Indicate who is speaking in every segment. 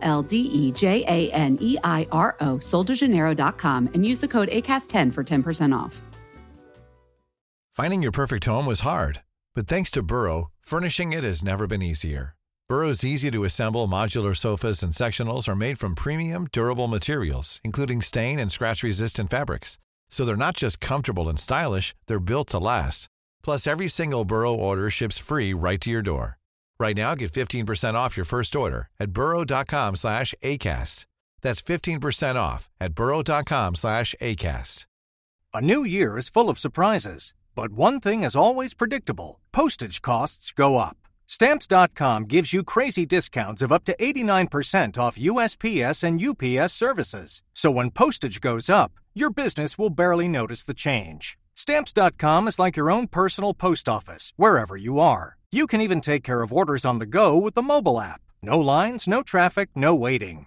Speaker 1: L D E J A N E I R O, soldejaneiro.com, and use the code ACAST10 for 10% off.
Speaker 2: Finding your perfect home was hard, but thanks to Burrow, furnishing it has never been easier. Burrow's easy to assemble modular sofas and sectionals are made from premium, durable materials, including stain and scratch resistant fabrics. So they're not just comfortable and stylish, they're built to last. Plus, every single Burrow order ships free right to your door. Right now, get 15% off your first order at burrow.com slash ACAST. That's 15% off at burrow.com slash ACAST.
Speaker 3: A new year is full of surprises, but one thing is always predictable postage costs go up. Stamps.com gives you crazy discounts of up to 89% off USPS and UPS services, so when postage goes up, your business will barely notice the change. Stamps.com is like your own personal post office, wherever you are. You can even take care of orders on the go with the mobile app. No lines, no traffic, no waiting.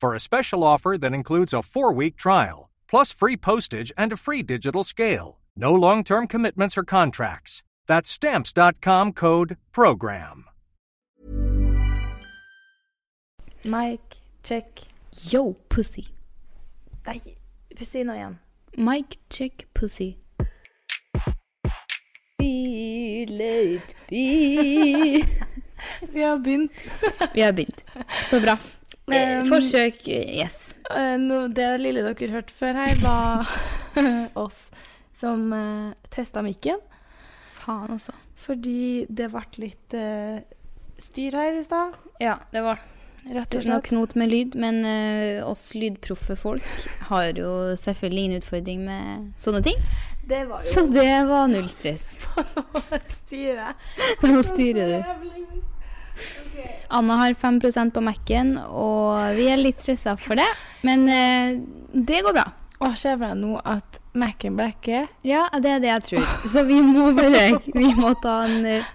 Speaker 3: for a special offer that includes a four week trial, plus free postage and a free digital scale. No long term commitments or contracts. That's Stamps.com code PROGRAM.
Speaker 4: Mike, check.
Speaker 5: Yo, pussy.
Speaker 4: Nei, si noe igjen.
Speaker 5: Mike, check pussy.
Speaker 4: Be late, be Vi har begynt.
Speaker 5: Vi har begynt. Så bra. Eh,
Speaker 4: Um,
Speaker 5: Forsøk eh, yes.
Speaker 4: Eh, nå- det lille dere hørte før her, var oss som uh, testa mikken.
Speaker 5: Faen, altså.
Speaker 4: Fordi det ble litt eh, styr her i stad,
Speaker 5: Ja, det var
Speaker 4: rett og
Speaker 5: noe
Speaker 4: slett.
Speaker 5: knot med lyd, men eh, oss lydproffe folk har jo selvfølgelig ingen utfordring med sånne ting.
Speaker 4: Det var jo
Speaker 5: Så det var null stress.
Speaker 4: styret.
Speaker 5: Nå styrer du. Anna har 5 på Mac-en, og vi er litt stressa for det. Men eh, det går bra.
Speaker 4: Og ser for deg nå at Mac-en blekker.
Speaker 5: Ja, det er det jeg tror. Så vi må bare Vi må ta en eh,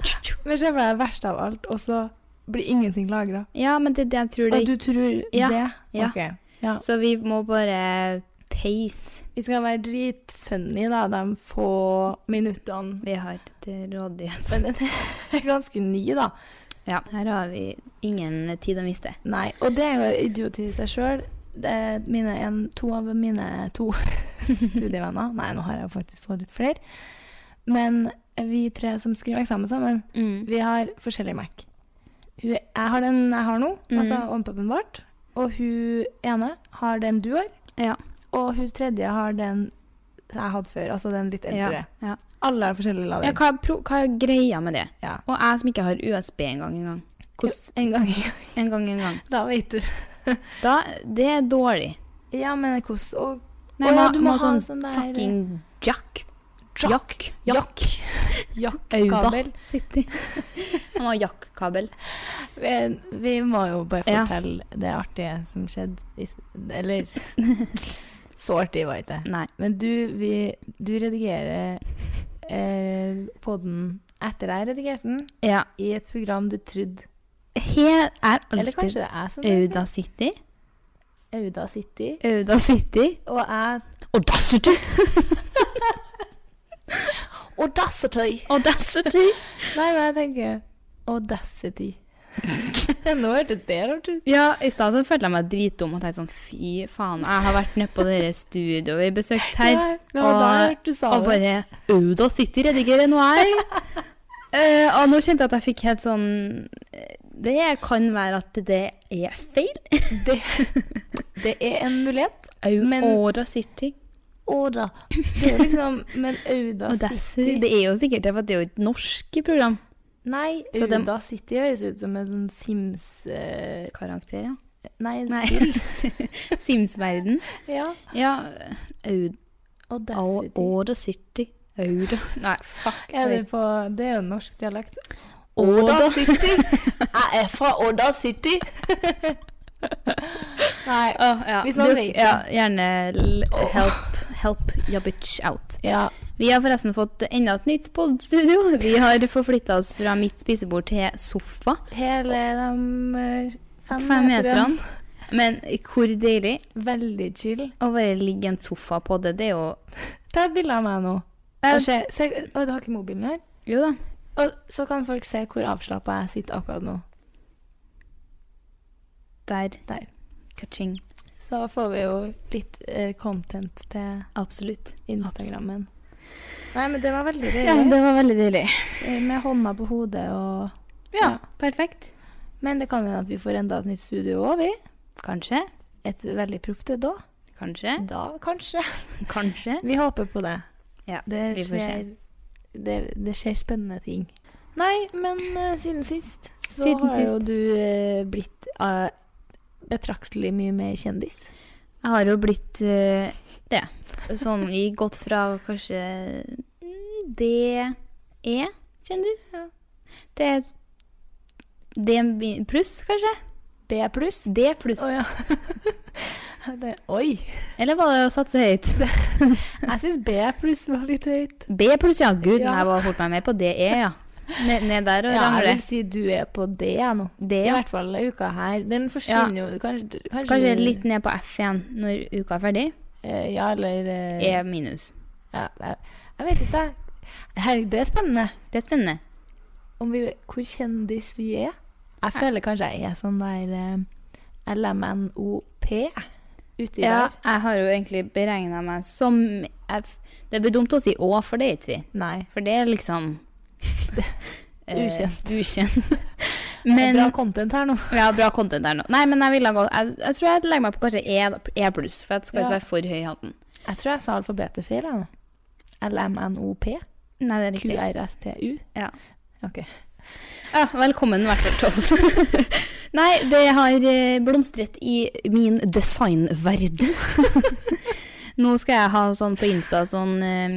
Speaker 4: Men ser for deg verst av alt, og så blir ingenting lagra.
Speaker 5: Ja, men det er det jeg tror det
Speaker 4: Og du tror
Speaker 5: Ja,
Speaker 4: det?
Speaker 5: ja.
Speaker 4: Ok. Ja.
Speaker 5: Så vi må bare pace.
Speaker 4: Vi skal være dritfunny da, de få minuttene.
Speaker 5: Vi har til rådighet.
Speaker 4: Men den er ganske ny, da.
Speaker 5: Ja, her har vi ingen tid å miste.
Speaker 4: Nei, og det er jo idioti i seg sjøl. Mine, en- to av mine to studievenner Nei, nå har jeg faktisk fått litt flere. Men vi tre som skriver eksamen sammen,
Speaker 5: Mm.
Speaker 4: vi har forskjellig Mac. Hun, jeg har den jeg har nå,
Speaker 5: Mm.
Speaker 4: altså OnePuben vårt. Og hun ene har den du har.
Speaker 5: Ja.
Speaker 4: Og hun tredje har den jeg hadde før, altså den litt eldre.
Speaker 5: ja.
Speaker 4: Alle har forskjellig
Speaker 5: Ja,
Speaker 4: lader.
Speaker 5: hva, er pro hva er greia med det?
Speaker 4: Ja.
Speaker 5: Og jeg som ikke har USB en gang en gang. Hvordan-
Speaker 4: En gang, i-
Speaker 5: En gang en gang.
Speaker 4: da vet du.
Speaker 5: Da, det er dårlig.
Speaker 4: Ja, men hvordan og
Speaker 5: Nei,
Speaker 4: Å ja,
Speaker 5: må-
Speaker 4: du må
Speaker 5: må
Speaker 4: ha
Speaker 5: sånn
Speaker 4: sånn der-
Speaker 5: fucking jack.
Speaker 4: Jack.
Speaker 5: Jack.
Speaker 4: Jakk-kabel.
Speaker 5: Sitter. Jeg må ha jack-kabel.
Speaker 4: Vi, vi må jo bare
Speaker 5: Ja.
Speaker 4: fortelle det artige som skjedde. i s- Eller Så artig var ikke det.
Speaker 5: Nei.
Speaker 4: Men du, vi, du redigerer eh, podden etter jeg redigerte den,
Speaker 5: Ja.
Speaker 4: i et program du trodde
Speaker 5: Her er
Speaker 4: Eller kanskje det
Speaker 5: alltid
Speaker 4: er jeg som gjør det. Auda
Speaker 5: Auda City.
Speaker 4: City.
Speaker 5: Auda City.
Speaker 4: Og jeg
Speaker 5: Audacity!
Speaker 4: Audacity!
Speaker 5: Audacity.
Speaker 4: Nei, men jeg tenker Audacity. Nå hørtes det rart ut.
Speaker 5: Ja, i stad så følte jeg meg dritdum og tenkte sånn fy faen, jeg har vært nede på dere studio vi besøkte her,
Speaker 4: Ja, det var da jeg
Speaker 5: og-
Speaker 4: hørte du sa
Speaker 5: og
Speaker 4: det.
Speaker 5: bare Auda City redigerer noe jeg. Eh, og nå kjente jeg at jeg fikk helt sånn eh, Det kan være at det er feil.
Speaker 4: Det, Det er en mulighet.
Speaker 5: Au,
Speaker 4: Men-
Speaker 5: Åra City.
Speaker 4: Oda. Det er liksom Men Auda
Speaker 5: Audacity.
Speaker 4: City
Speaker 5: Det er jo sikkert det, for det er jo et norsk program.
Speaker 4: Nei,
Speaker 5: Så dem-
Speaker 4: Auda City høres ut som en sånn Sims eh,
Speaker 5: Karakter, ja.
Speaker 4: Nei, en
Speaker 5: Nei.
Speaker 4: spill.
Speaker 5: Sims-verden.
Speaker 4: Ja.
Speaker 5: Ja, Aud- Au-
Speaker 4: Audacity.
Speaker 5: Åra City. Auda Nei, fuck.
Speaker 4: Er det, på, det er jo norsk dialekt.
Speaker 5: Åda.
Speaker 4: City! Jeg er fra Odda City! Nei.
Speaker 5: Åh, ja.
Speaker 4: Hvis noen
Speaker 5: Du-
Speaker 4: vet det.
Speaker 5: ja, gjerne l- help, help your bitch out.
Speaker 4: Ja.
Speaker 5: Vi har forresten fått enda et nytt podstudio. Vi har forflytta oss fra mitt spisebord til sofa.
Speaker 4: Hele de eh, fem,
Speaker 5: Fem meterne. Men hvor deilig
Speaker 4: Veldig chill.
Speaker 5: å bare ligge i en sofa på det. Det er jo
Speaker 4: Ta et bilde av meg nå.
Speaker 5: Eh,
Speaker 4: Og se, se, å, du har ikke mobilen her?
Speaker 5: Jo da.
Speaker 4: Og så kan folk se hvor avslappa jeg sitter akkurat nå.
Speaker 5: Der.
Speaker 4: Der.
Speaker 5: Kaching.
Speaker 4: Så får vi jo litt eh, content til
Speaker 5: Absolutt.
Speaker 4: Instagrammen. Nei, men det var veldig
Speaker 5: Ja,
Speaker 4: deilig.
Speaker 5: det var veldig deilig.
Speaker 4: Eh, Med hånda på hodet og
Speaker 5: Ja, perfekt.
Speaker 4: Men det kan hende at vi får enda et nytt studio òg, vi.
Speaker 5: Kanskje.
Speaker 4: Et veldig proft et da.
Speaker 5: Kanskje.
Speaker 4: Da, kanskje.
Speaker 5: Kanskje.
Speaker 4: Vi håper på det.
Speaker 5: Ja,
Speaker 4: Det
Speaker 5: vi får se.
Speaker 4: skjer, det, det skjer spennende ting. Nei, men eh, siden sist så
Speaker 5: Siden
Speaker 4: har jo du eh, blitt eh, betraktelig mye mer kjendis.
Speaker 5: Jeg har jo blitt eh, det. Sånn i gått fra kanskje DE-kjendis ja. til D pluss, kanskje?
Speaker 4: B pluss.
Speaker 5: D pluss.
Speaker 4: Å ja. det, oi.
Speaker 5: Eller var det å satse høyt?
Speaker 4: Jeg syns B pluss var litt høyt.
Speaker 5: B pluss, ja. Gud,
Speaker 4: Ja.
Speaker 5: jeg var fort meg med på DE, ja. Ned, ned der og
Speaker 4: Ja, jeg
Speaker 5: ramle.
Speaker 4: vil si du er på D jeg nå.
Speaker 5: D,
Speaker 4: I
Speaker 5: ja.
Speaker 4: hvert fall uka her. Den forsvinner jo kanskje, kanskje,
Speaker 5: Kanskje litt ned på F igjen når uka er ferdig.
Speaker 4: eh, Ja, eller eh,
Speaker 5: E minus.
Speaker 4: Ja, jeg, jeg vet ikke, jeg. Herregud, det er spennende.
Speaker 5: Det er spennende.
Speaker 4: Om vi, hvor kjendis vi er. Jeg føler kanskje jeg er sånn der eh, LMNOP uti
Speaker 5: Ja,
Speaker 4: der.
Speaker 5: jeg har jo egentlig beregna meg som F. Det blir dumt å si Å, for det er ikke vi.
Speaker 4: Nei.
Speaker 5: For det er liksom eh,
Speaker 4: Ukjent.
Speaker 5: ukjent.
Speaker 4: det er
Speaker 5: Men
Speaker 4: bra content her nå.
Speaker 5: vi har bra content der nå. Nei, men jeg, ville gå, jeg, jeg tror jeg legger meg på kanskje E, da- e pluss, for jeg skal
Speaker 4: Ja.
Speaker 5: ikke være for høy i hatten.
Speaker 4: Jeg tror jeg sa alfabetet feil. jeg, nå. LMNOP.
Speaker 5: Nei, det er riktig. Eh,
Speaker 4: QRSTU.
Speaker 5: Ja.
Speaker 4: Ok.
Speaker 5: Ja, velkommen i hvert fall til oss. Nei, det har eh, blomstret i min designverden. Nå skal jeg ha sånn på Insta sånn eh,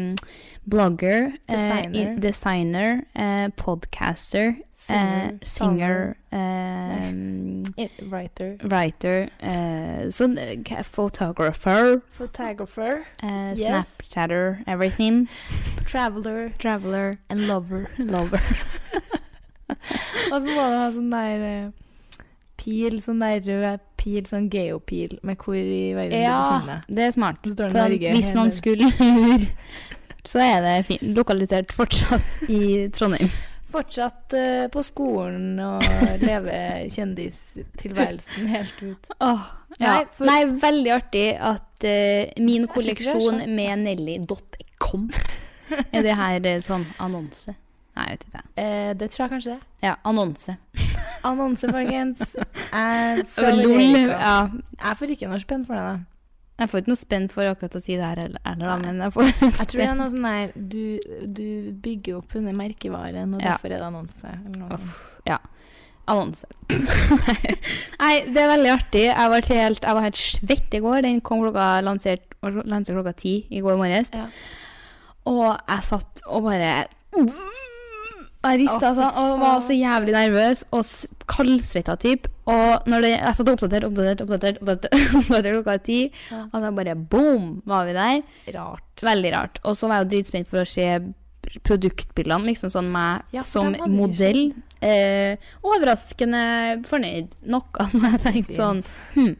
Speaker 5: blogger, eh, i-
Speaker 4: Designer.
Speaker 5: designer eh, podcaster, eh,
Speaker 4: Singer,
Speaker 5: singer, eh,
Speaker 4: Writer.
Speaker 5: writer, eh, sånn, eh, k- photographer,
Speaker 4: Photographer.
Speaker 5: eh,
Speaker 4: Yes.
Speaker 5: snapchatter, everything,
Speaker 4: Traveler.
Speaker 5: traveler.
Speaker 4: And lover. Lover. Og så må du ha sånn der eh, pil, sånn der rød pil, sånn geopil med hvor i verden du
Speaker 5: Ja.
Speaker 4: befinner deg.
Speaker 5: Det er smart.
Speaker 4: Så står det
Speaker 5: For
Speaker 4: Norge.
Speaker 5: hvis noen
Speaker 4: hele-
Speaker 5: skulle lure, så er det fint. Lokalisert fortsatt i Trondheim.
Speaker 4: Fortsatt eh, på skolen og leve kjendistilværelsen helt ut.
Speaker 5: ja.
Speaker 4: Nei,
Speaker 5: Nei,
Speaker 4: for-
Speaker 5: veldig artig at eh, min
Speaker 4: Jeg tror ikke det er
Speaker 5: kolleksjon
Speaker 4: sant.
Speaker 5: med Nelly.com Er det her eh, sånn annonse? Nei, jeg vet ikke.
Speaker 4: Eh, det tror jeg kanskje det.
Speaker 5: Ja, annonse.
Speaker 4: Annonse, folkens. Jeg
Speaker 5: Og
Speaker 4: føler
Speaker 5: lol.
Speaker 4: jeg ikke-
Speaker 5: Ja.
Speaker 4: Jeg får ikke noe spenn for det. da.
Speaker 5: Jeg får ikke noe spenn for akkurat å si det her heller, eller da, men jeg får
Speaker 4: Jeg tror det er
Speaker 5: spenn.
Speaker 4: noe sånn der du, du bygger opp under merkevaren, og
Speaker 5: Ja.
Speaker 4: derfor er det annonse. Eller noe. sånt.
Speaker 5: Annonse. Nei, det er veldig artig. Jeg var helt, jeg var helt svett i går. Den kom klokka, lansert, lansert klokka ti i går morges.
Speaker 4: Ja.
Speaker 5: Og jeg satt og bare Jeg rista
Speaker 4: Å, fy
Speaker 5: sånn og var så jævlig nervøs og s- kaldsvetta type. Og når det, jeg satt og oppdatert, oppdatert, oppdatert, oppdatert, oppdatert klokka ti,
Speaker 4: Ja.
Speaker 5: og da bare boom, var vi der.
Speaker 4: Rart.
Speaker 5: Veldig rart. Og så var jeg jo dritspent for å se produktbildene, liksom sånn meg
Speaker 4: Ja, for
Speaker 5: som
Speaker 4: dem hadde vi jo
Speaker 5: modell. Eh, overraskende fornøyd. Noe som jeg tenkte sånn hm.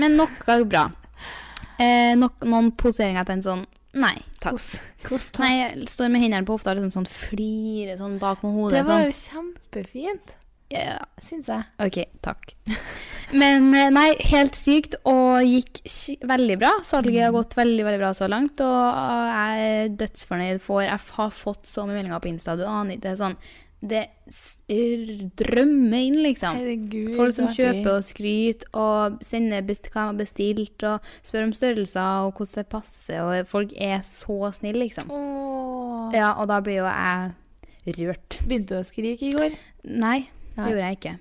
Speaker 5: Men noe bra. Eh, nok, noen poseringer jeg tenkte sånn Nei takk.
Speaker 4: Kos. Kos da.
Speaker 5: Nei, jeg står med hendene på hofta liksom sånn flirer sånn bak med hodet.
Speaker 4: det var
Speaker 5: sånn.
Speaker 4: jo kjempefint,
Speaker 5: Ja,
Speaker 4: syns jeg.
Speaker 5: OK, takk. Men eh, nei, helt sykt, og gikk sk- veldig bra. Salget
Speaker 4: Mm.
Speaker 5: har gått veldig veldig bra så langt, eh, og jeg er dødsfornøyd for Jeg har fått så mye meldinger på Insta, du aner ikke. Det er sånn det s- drømmer inn, liksom.
Speaker 4: Herregud.
Speaker 5: Folk som
Speaker 4: så artig.
Speaker 5: kjøper og skryter og sender best hva de har bestilt, og spør om størrelser og hvordan det passer, og folk er så snille, liksom.
Speaker 4: Åh.
Speaker 5: Ja, og da blir jo jeg rørt.
Speaker 4: Begynte du å skrike i går?
Speaker 5: Nei, det
Speaker 4: Nei.
Speaker 5: gjorde jeg ikke.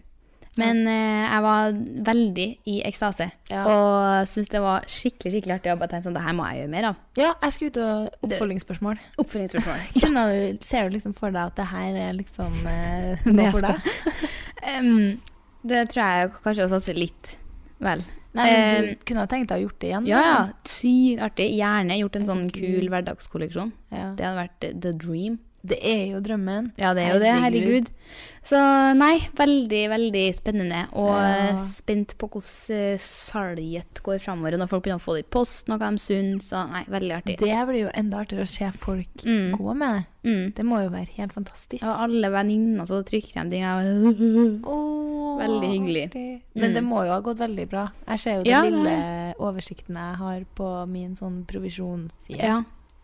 Speaker 5: Men eh, jeg var veldig i ekstase,
Speaker 4: Ja.
Speaker 5: og syntes det var skikkelig skikkelig artig. Og bare tenkte sånn, det her må jeg gjøre mer av.
Speaker 4: Ja, jeg skulle ut og Oppfølgingsspørsmål.
Speaker 5: Oppfølgingsspørsmål.
Speaker 4: Kunne du- Ser du liksom for deg at det her er liksom eh, noe for deg?
Speaker 5: Em, det tror jeg kanskje å satse litt. Vel.
Speaker 4: Nei, men
Speaker 5: Eh,
Speaker 4: du kunne ha tenkt deg å gjort det igjen?
Speaker 5: Ja, ja.
Speaker 4: da.
Speaker 5: Sykt artig. Gjerne gjort en sånn
Speaker 4: Herregud.
Speaker 5: kul hverdagskolleksjon.
Speaker 4: ja.
Speaker 5: Det hadde vært eh, the dream.
Speaker 4: Det er jo drømmen.
Speaker 5: Ja, det er jo det.
Speaker 4: Herregud.
Speaker 5: Herregud. Så nei, veldig, veldig spennende. Og
Speaker 4: Ja.
Speaker 5: eh, spent på hvordan eh, salget går framover. Når folk begynner å få det i posten, og hva de syns. Så nei, veldig artig.
Speaker 4: Det blir jo enda artigere å se folk
Speaker 5: Mm.
Speaker 4: gå med det.
Speaker 5: Mm.
Speaker 4: Det må jo være helt fantastisk.
Speaker 5: Og alle venninner så trykker de ting. jeg bare-
Speaker 4: Åh,
Speaker 5: Veldig hyggelig.
Speaker 4: artig. Men det
Speaker 5: Mm.
Speaker 4: må jo ha gått veldig bra. Jeg ser jo den
Speaker 5: Ja, det
Speaker 4: lille oversikten jeg har på min sånn provisjonsside.
Speaker 5: Ja.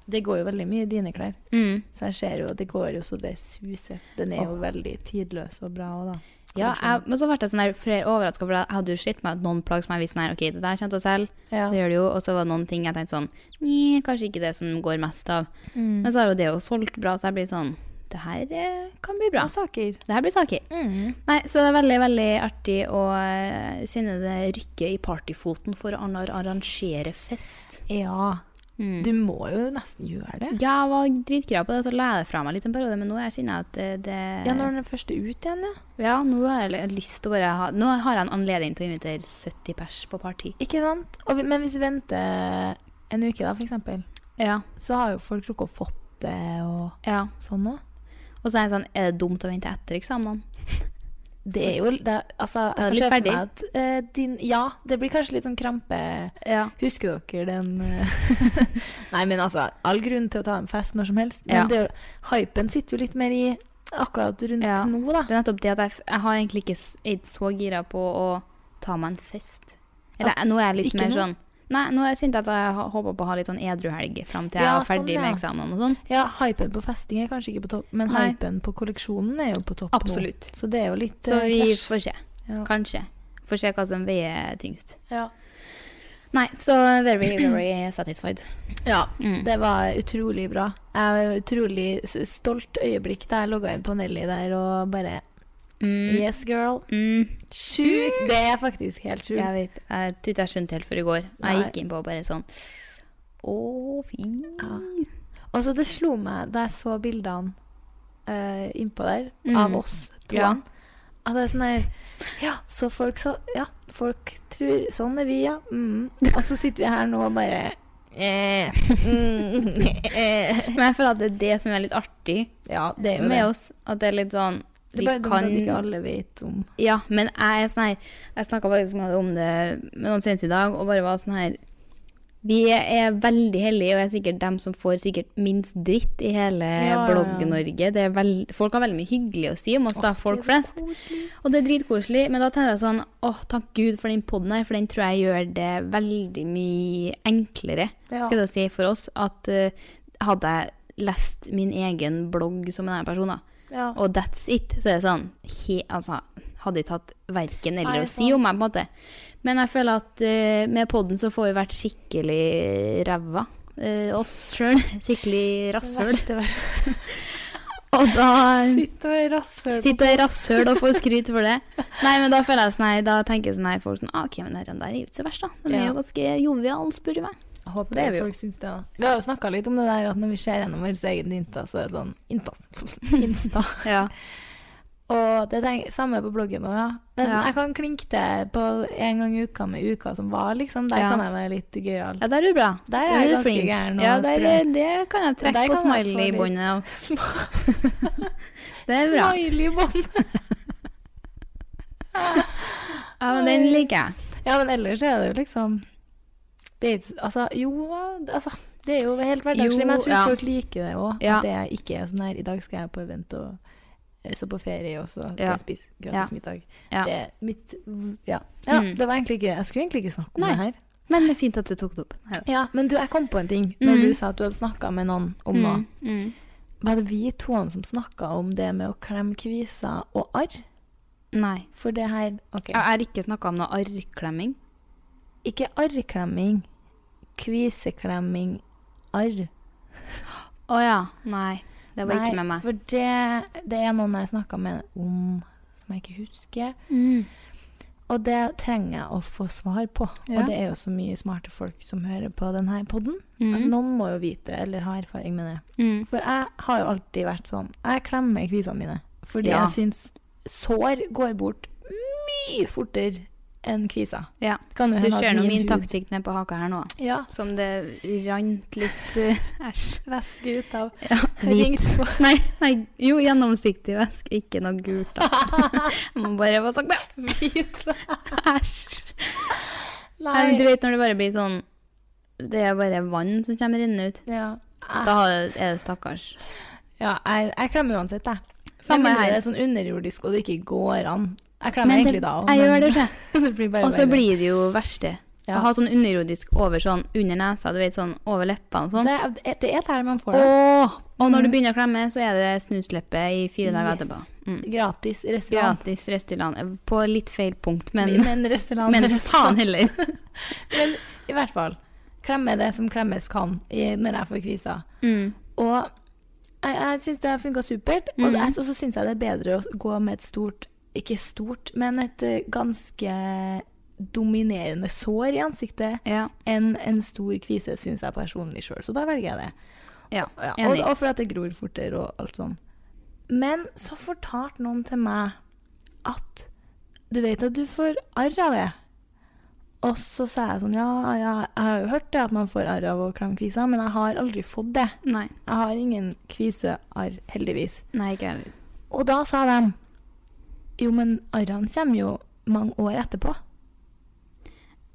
Speaker 4: Det går jo veldig mye i dine klær.
Speaker 5: Mm.
Speaker 4: Så jeg ser jo at det går jo så det suser. Den er jo veldig tidløs og bra òg, da.
Speaker 5: Ja, jeg,
Speaker 4: Kolleksjonen.
Speaker 5: men så ble jeg sånn der flere overraska, for jeg hadde jo sett meg at noen plagg som jeg visste her, ok, det der kommer til å selge,
Speaker 4: Ja.
Speaker 5: det gjør det jo, og så var det noen ting jeg tenkte sånn, nei, kanskje ikke det som går mest av.
Speaker 4: Mm.
Speaker 5: Men så har jo det jo solgt bra, så jeg blir sånn, det her eh, kan bli bra.
Speaker 4: Bra saker.
Speaker 5: Det her blir saker. Nei, så det er veldig, veldig artig å eh, kjenne det rykke i partyfoten for å arra- arrangere fest.
Speaker 4: Ja.
Speaker 5: Mm.
Speaker 4: Du må jo nesten gjøre det.
Speaker 5: Ja, jeg var dritgrad på det, og så la jeg det fra meg litt en periode, men nå jeg kjenner jeg at eh, det...
Speaker 4: Ja, når den er først ut igjen, ja.
Speaker 5: Ja, nå har jeg lyst til å bare ha... Nå har jeg en anledning til å invitere 70 pers på party.
Speaker 4: Ikke sant? Og, vi- men hvis du venter en uke, da, for eksempel,
Speaker 5: Ja,
Speaker 4: så har jo folk rukket å fått det og
Speaker 5: ja.
Speaker 4: sånn òg.
Speaker 5: Og så er jeg sånn, er det dumt å vente etter eksamenene?
Speaker 4: Det er jo det, Altså,
Speaker 5: Da er
Speaker 4: jeg
Speaker 5: det litt
Speaker 4: ser for
Speaker 5: ferdig.
Speaker 4: meg at eh, din Ja, det blir kanskje litt sånn krampe...
Speaker 5: Ja.
Speaker 4: Husker dere den eh, Nei, men altså, all grunn til å ta en fest når som helst. Men
Speaker 5: Ja.
Speaker 4: det, er jo- hypen sitter jo litt mer i akkurat rundt
Speaker 5: Ja.
Speaker 4: nå, da.
Speaker 5: Det er nettopp det at jeg, f- jeg har egentlig ikke s- er ikke så gira på å ta meg en fest. Eller nå er jeg litt
Speaker 4: Ah, ikke
Speaker 5: mer
Speaker 4: nå?
Speaker 5: sånn Nei, nå har jeg kjent at jeg ha- håper på å ha litt sånn edruhelg fram til jeg
Speaker 4: Ja,
Speaker 5: er
Speaker 4: sånn,
Speaker 5: ferdig
Speaker 4: ja.
Speaker 5: med eksamen og sånn.
Speaker 4: Ja, hypen på festing er kanskje ikke på topp, men
Speaker 5: Nei.
Speaker 4: hypen på kolleksjonen er jo på topp
Speaker 5: Absolutt.
Speaker 4: nå. Så det er jo litt
Speaker 5: Så
Speaker 4: eh,
Speaker 5: vi
Speaker 4: krasj.
Speaker 5: får se.
Speaker 4: Ja.
Speaker 5: Kanskje. Får se hva som veier tyngst.
Speaker 4: Ja.
Speaker 5: Nei, så very, very satisfied.
Speaker 4: ja.
Speaker 5: Mm.
Speaker 4: Det var utrolig bra. Jeg var utrolig s- stolt øyeblikk da jeg logga inn på Nelly der og bare
Speaker 5: Mm.
Speaker 4: Yes, girl.
Speaker 5: Mm.
Speaker 4: Sjukt! Det er faktisk helt sjukt.
Speaker 5: Jeg vet, jeg tror ikke jeg skjønte helt før i går. Jeg
Speaker 4: Nei.
Speaker 5: gikk inn på og bare sånn Å, fy.
Speaker 4: Ja. Og så Altså, det slo meg da jeg så bildene eh, innpå der,
Speaker 5: Mm.
Speaker 4: av oss to.
Speaker 5: Ja.
Speaker 4: At det er sånn her Ja, så folk så Ja, folk tror Sånn er vi, ja. Mm. Og så sitter vi her nå og bare eh, mm, eh.
Speaker 5: Men jeg føler at det er det som er litt artig.
Speaker 4: Ja, det er jo
Speaker 5: med
Speaker 4: det.
Speaker 5: oss. At det er litt sånn
Speaker 4: Det er
Speaker 5: vi
Speaker 4: bare dumt
Speaker 5: kan,
Speaker 4: at ikke alle vet om
Speaker 5: Ja, men jeg er sånn her Jeg snakka faktisk med- om det med noen senest i dag, og bare var sånn her Vi er veldig heldige, og er sikkert dem som får sikkert minst dritt i hele
Speaker 4: Ja, ja, ja.
Speaker 5: Blogg-Norge. Det er veld- Folk har veldig mye hyggelig å si om oss, da, folk flest. Og det er dritkoselig, men da tenker jeg sånn Å, takk Gud for den poden her, for den tror jeg gjør det veldig mye enklere
Speaker 4: Ja.
Speaker 5: skal jeg da si for oss, at eh, hadde jeg lest min egen blogg som en annen person, da,
Speaker 4: ja.
Speaker 5: og that's it, så er det sånn he, altså, Hadde ikke hatt verken
Speaker 4: Nei,
Speaker 5: eller å
Speaker 4: det er
Speaker 5: si
Speaker 4: sant.
Speaker 5: om meg, på en måte. Men jeg føler at eh, med podden så får vi vært skikkelig ræva. eh, oss sjøl. Skikkelig rasshøl.
Speaker 4: Verste, verste.
Speaker 5: Og da
Speaker 4: Sitt og rasshøl.
Speaker 5: sitter jeg rasshøl og får skryt for det. Nei, men da føler jeg sånn her, da tenker jeg sånn her, folk sånn ah, OK, men den der er jo ikke så verst, da. Den er
Speaker 4: Ja.
Speaker 5: jo ganske jovial, spør du meg.
Speaker 4: Jeg håper
Speaker 5: Det er vi jo.
Speaker 4: folk syns det. da. Vi har jo snakka litt om det der at når vi ser gjennom vår egen Insta, så er det sånn Insta. Insta.
Speaker 5: Ja.
Speaker 4: Og det er det samme på bloggen òg, ja. Det er sånn,
Speaker 5: Ja.
Speaker 4: Jeg kan klinke til på en gang i uka med uka som var, liksom. Der
Speaker 5: Ja.
Speaker 4: kan jeg være litt gøyal.
Speaker 5: Ja, der er du bra.
Speaker 4: Der er jeg
Speaker 5: du
Speaker 4: ganske
Speaker 5: flink.
Speaker 4: gæren og
Speaker 5: Ja, der,
Speaker 4: sprø.
Speaker 5: det kan jeg
Speaker 4: Der
Speaker 5: trekke på
Speaker 4: kan jeg få
Speaker 5: smiley-båndet av. Det er bra.
Speaker 4: Smiley-bånd.
Speaker 5: Ja, men den liker jeg.
Speaker 4: Ja, men ellers er det jo liksom det er, ikke- Altså, jo altså, Det er jo helt hverdagslig,
Speaker 5: Jo,
Speaker 4: men jeg tror
Speaker 5: ja.
Speaker 4: folk liker det òg.
Speaker 5: Ja.
Speaker 4: At det ikke er sånn her I dag skal jeg på event og eh, så på ferie, og så skal
Speaker 5: Ja.
Speaker 4: jeg spise gratis
Speaker 5: Ja.
Speaker 4: middag.
Speaker 5: Ja.
Speaker 4: Det er mitt Ja. ja
Speaker 5: Mm.
Speaker 4: Det var egentlig ikke Jeg skulle egentlig ikke snakke om
Speaker 5: Nei.
Speaker 4: det her.
Speaker 5: Men det er fint at du tok det opp. Neida.
Speaker 4: Ja, Men du, jeg kom på en ting når
Speaker 5: Mm.
Speaker 4: du sa at du hadde snakka med noen om noe.
Speaker 5: Mm. Mm.
Speaker 4: Var det vi to som snakka om det med å klemme kviser og arr?
Speaker 5: Nei.
Speaker 4: For det her Ok.
Speaker 5: Jeg har ikke snakka om noe arrklemming.
Speaker 4: Ikke arrklemming. Kviseklemming. Arr.
Speaker 5: Å ja. Nei. Det var ikke med meg.
Speaker 4: for det, det er noen jeg snakka med om som jeg ikke husker.
Speaker 5: Mm.
Speaker 4: Og det trenger jeg å få svar på.
Speaker 5: Ja.
Speaker 4: Og det er jo så mye smarte folk som hører på denne poden. At
Speaker 5: Mm.
Speaker 4: noen må jo vite eller ha erfaring med det.
Speaker 5: Mm.
Speaker 4: For jeg har jo alltid vært sånn Jeg klemmer kvisene mine. Fordi
Speaker 5: Ja.
Speaker 4: jeg syns sår går bort mye fortere enn kviser.
Speaker 5: Ja.
Speaker 4: Det kan jo
Speaker 5: Du
Speaker 4: hende at
Speaker 5: ser nå min
Speaker 4: hud-
Speaker 5: taktikk ned på haka her nå.
Speaker 4: Ja.
Speaker 5: Som det rant litt eh, Æsj.
Speaker 4: Væske ut av
Speaker 5: Ja, hvit.
Speaker 4: Ringt på.
Speaker 5: Nei, nei, jo, gjennomsiktig væske. Ikke noe gult, da. Jeg må bare få sagt det.
Speaker 4: Hvit
Speaker 5: Æsj.
Speaker 4: Nei.
Speaker 5: Nei, men Du vet når det bare blir sånn Det er bare vann som kommer rennende ut.
Speaker 4: ja. Ah,
Speaker 5: Da er det stakkars.
Speaker 4: ja, jeg, jeg klemmer uansett, jeg.
Speaker 5: Samme
Speaker 4: Med mindre
Speaker 5: her.
Speaker 4: Det er sånn underjordisk, og det ikke går an. Jeg klemmer
Speaker 5: Men det,
Speaker 4: egentlig da også,
Speaker 5: jeg
Speaker 4: men-
Speaker 5: gjør det ikke.
Speaker 4: det blir bare
Speaker 5: Og så
Speaker 4: verre.
Speaker 5: blir det jo verste.
Speaker 4: Ja.
Speaker 5: Å ha sånn underjordisk over sånn under nesa, du vet sånn over leppene og sånn.
Speaker 4: det, er- det er der man får det.
Speaker 5: Åh, og når du
Speaker 4: Mm.
Speaker 5: begynner å klemme, så er det snusleppe i fire dager
Speaker 4: Yes.
Speaker 5: etterpå. Mm.
Speaker 4: Gratis restaurant.
Speaker 5: Gratis Restylane. På litt feil punkt, men,
Speaker 4: men restaurant.
Speaker 5: men
Speaker 4: restaurant.
Speaker 5: faen heller.
Speaker 4: Men i hvert fall. Klemme det som klemmes kan i, når jeg får kviser.
Speaker 5: Mm.
Speaker 4: Og jeg, jeg syns det har funka supert. Og
Speaker 5: Mhm.
Speaker 4: det- jeg- og så syns jeg det er bedre å gå med et stort Ikke stort, men et eh, ganske dominerende sår i ansiktet
Speaker 5: Ja.
Speaker 4: enn en stor kvise, syns jeg personlig sjøl. Så da velger jeg det.
Speaker 5: ja.
Speaker 4: Ja, og,
Speaker 5: Enig.
Speaker 4: og for at det gror fortere og alt sånn. Men så fortalte noen til meg at du vet at du får arr av det. Og så sa jeg sånn ja, ja, jeg har jo hørt det at man får arr av å klemme kvisa, men jeg har aldri fått det.
Speaker 5: Nei.
Speaker 4: Jeg har ingen kvisearr, heldigvis.
Speaker 5: Nei, ikke heller.
Speaker 4: Og da sa de jo, men arrene kommer jo mange år etterpå.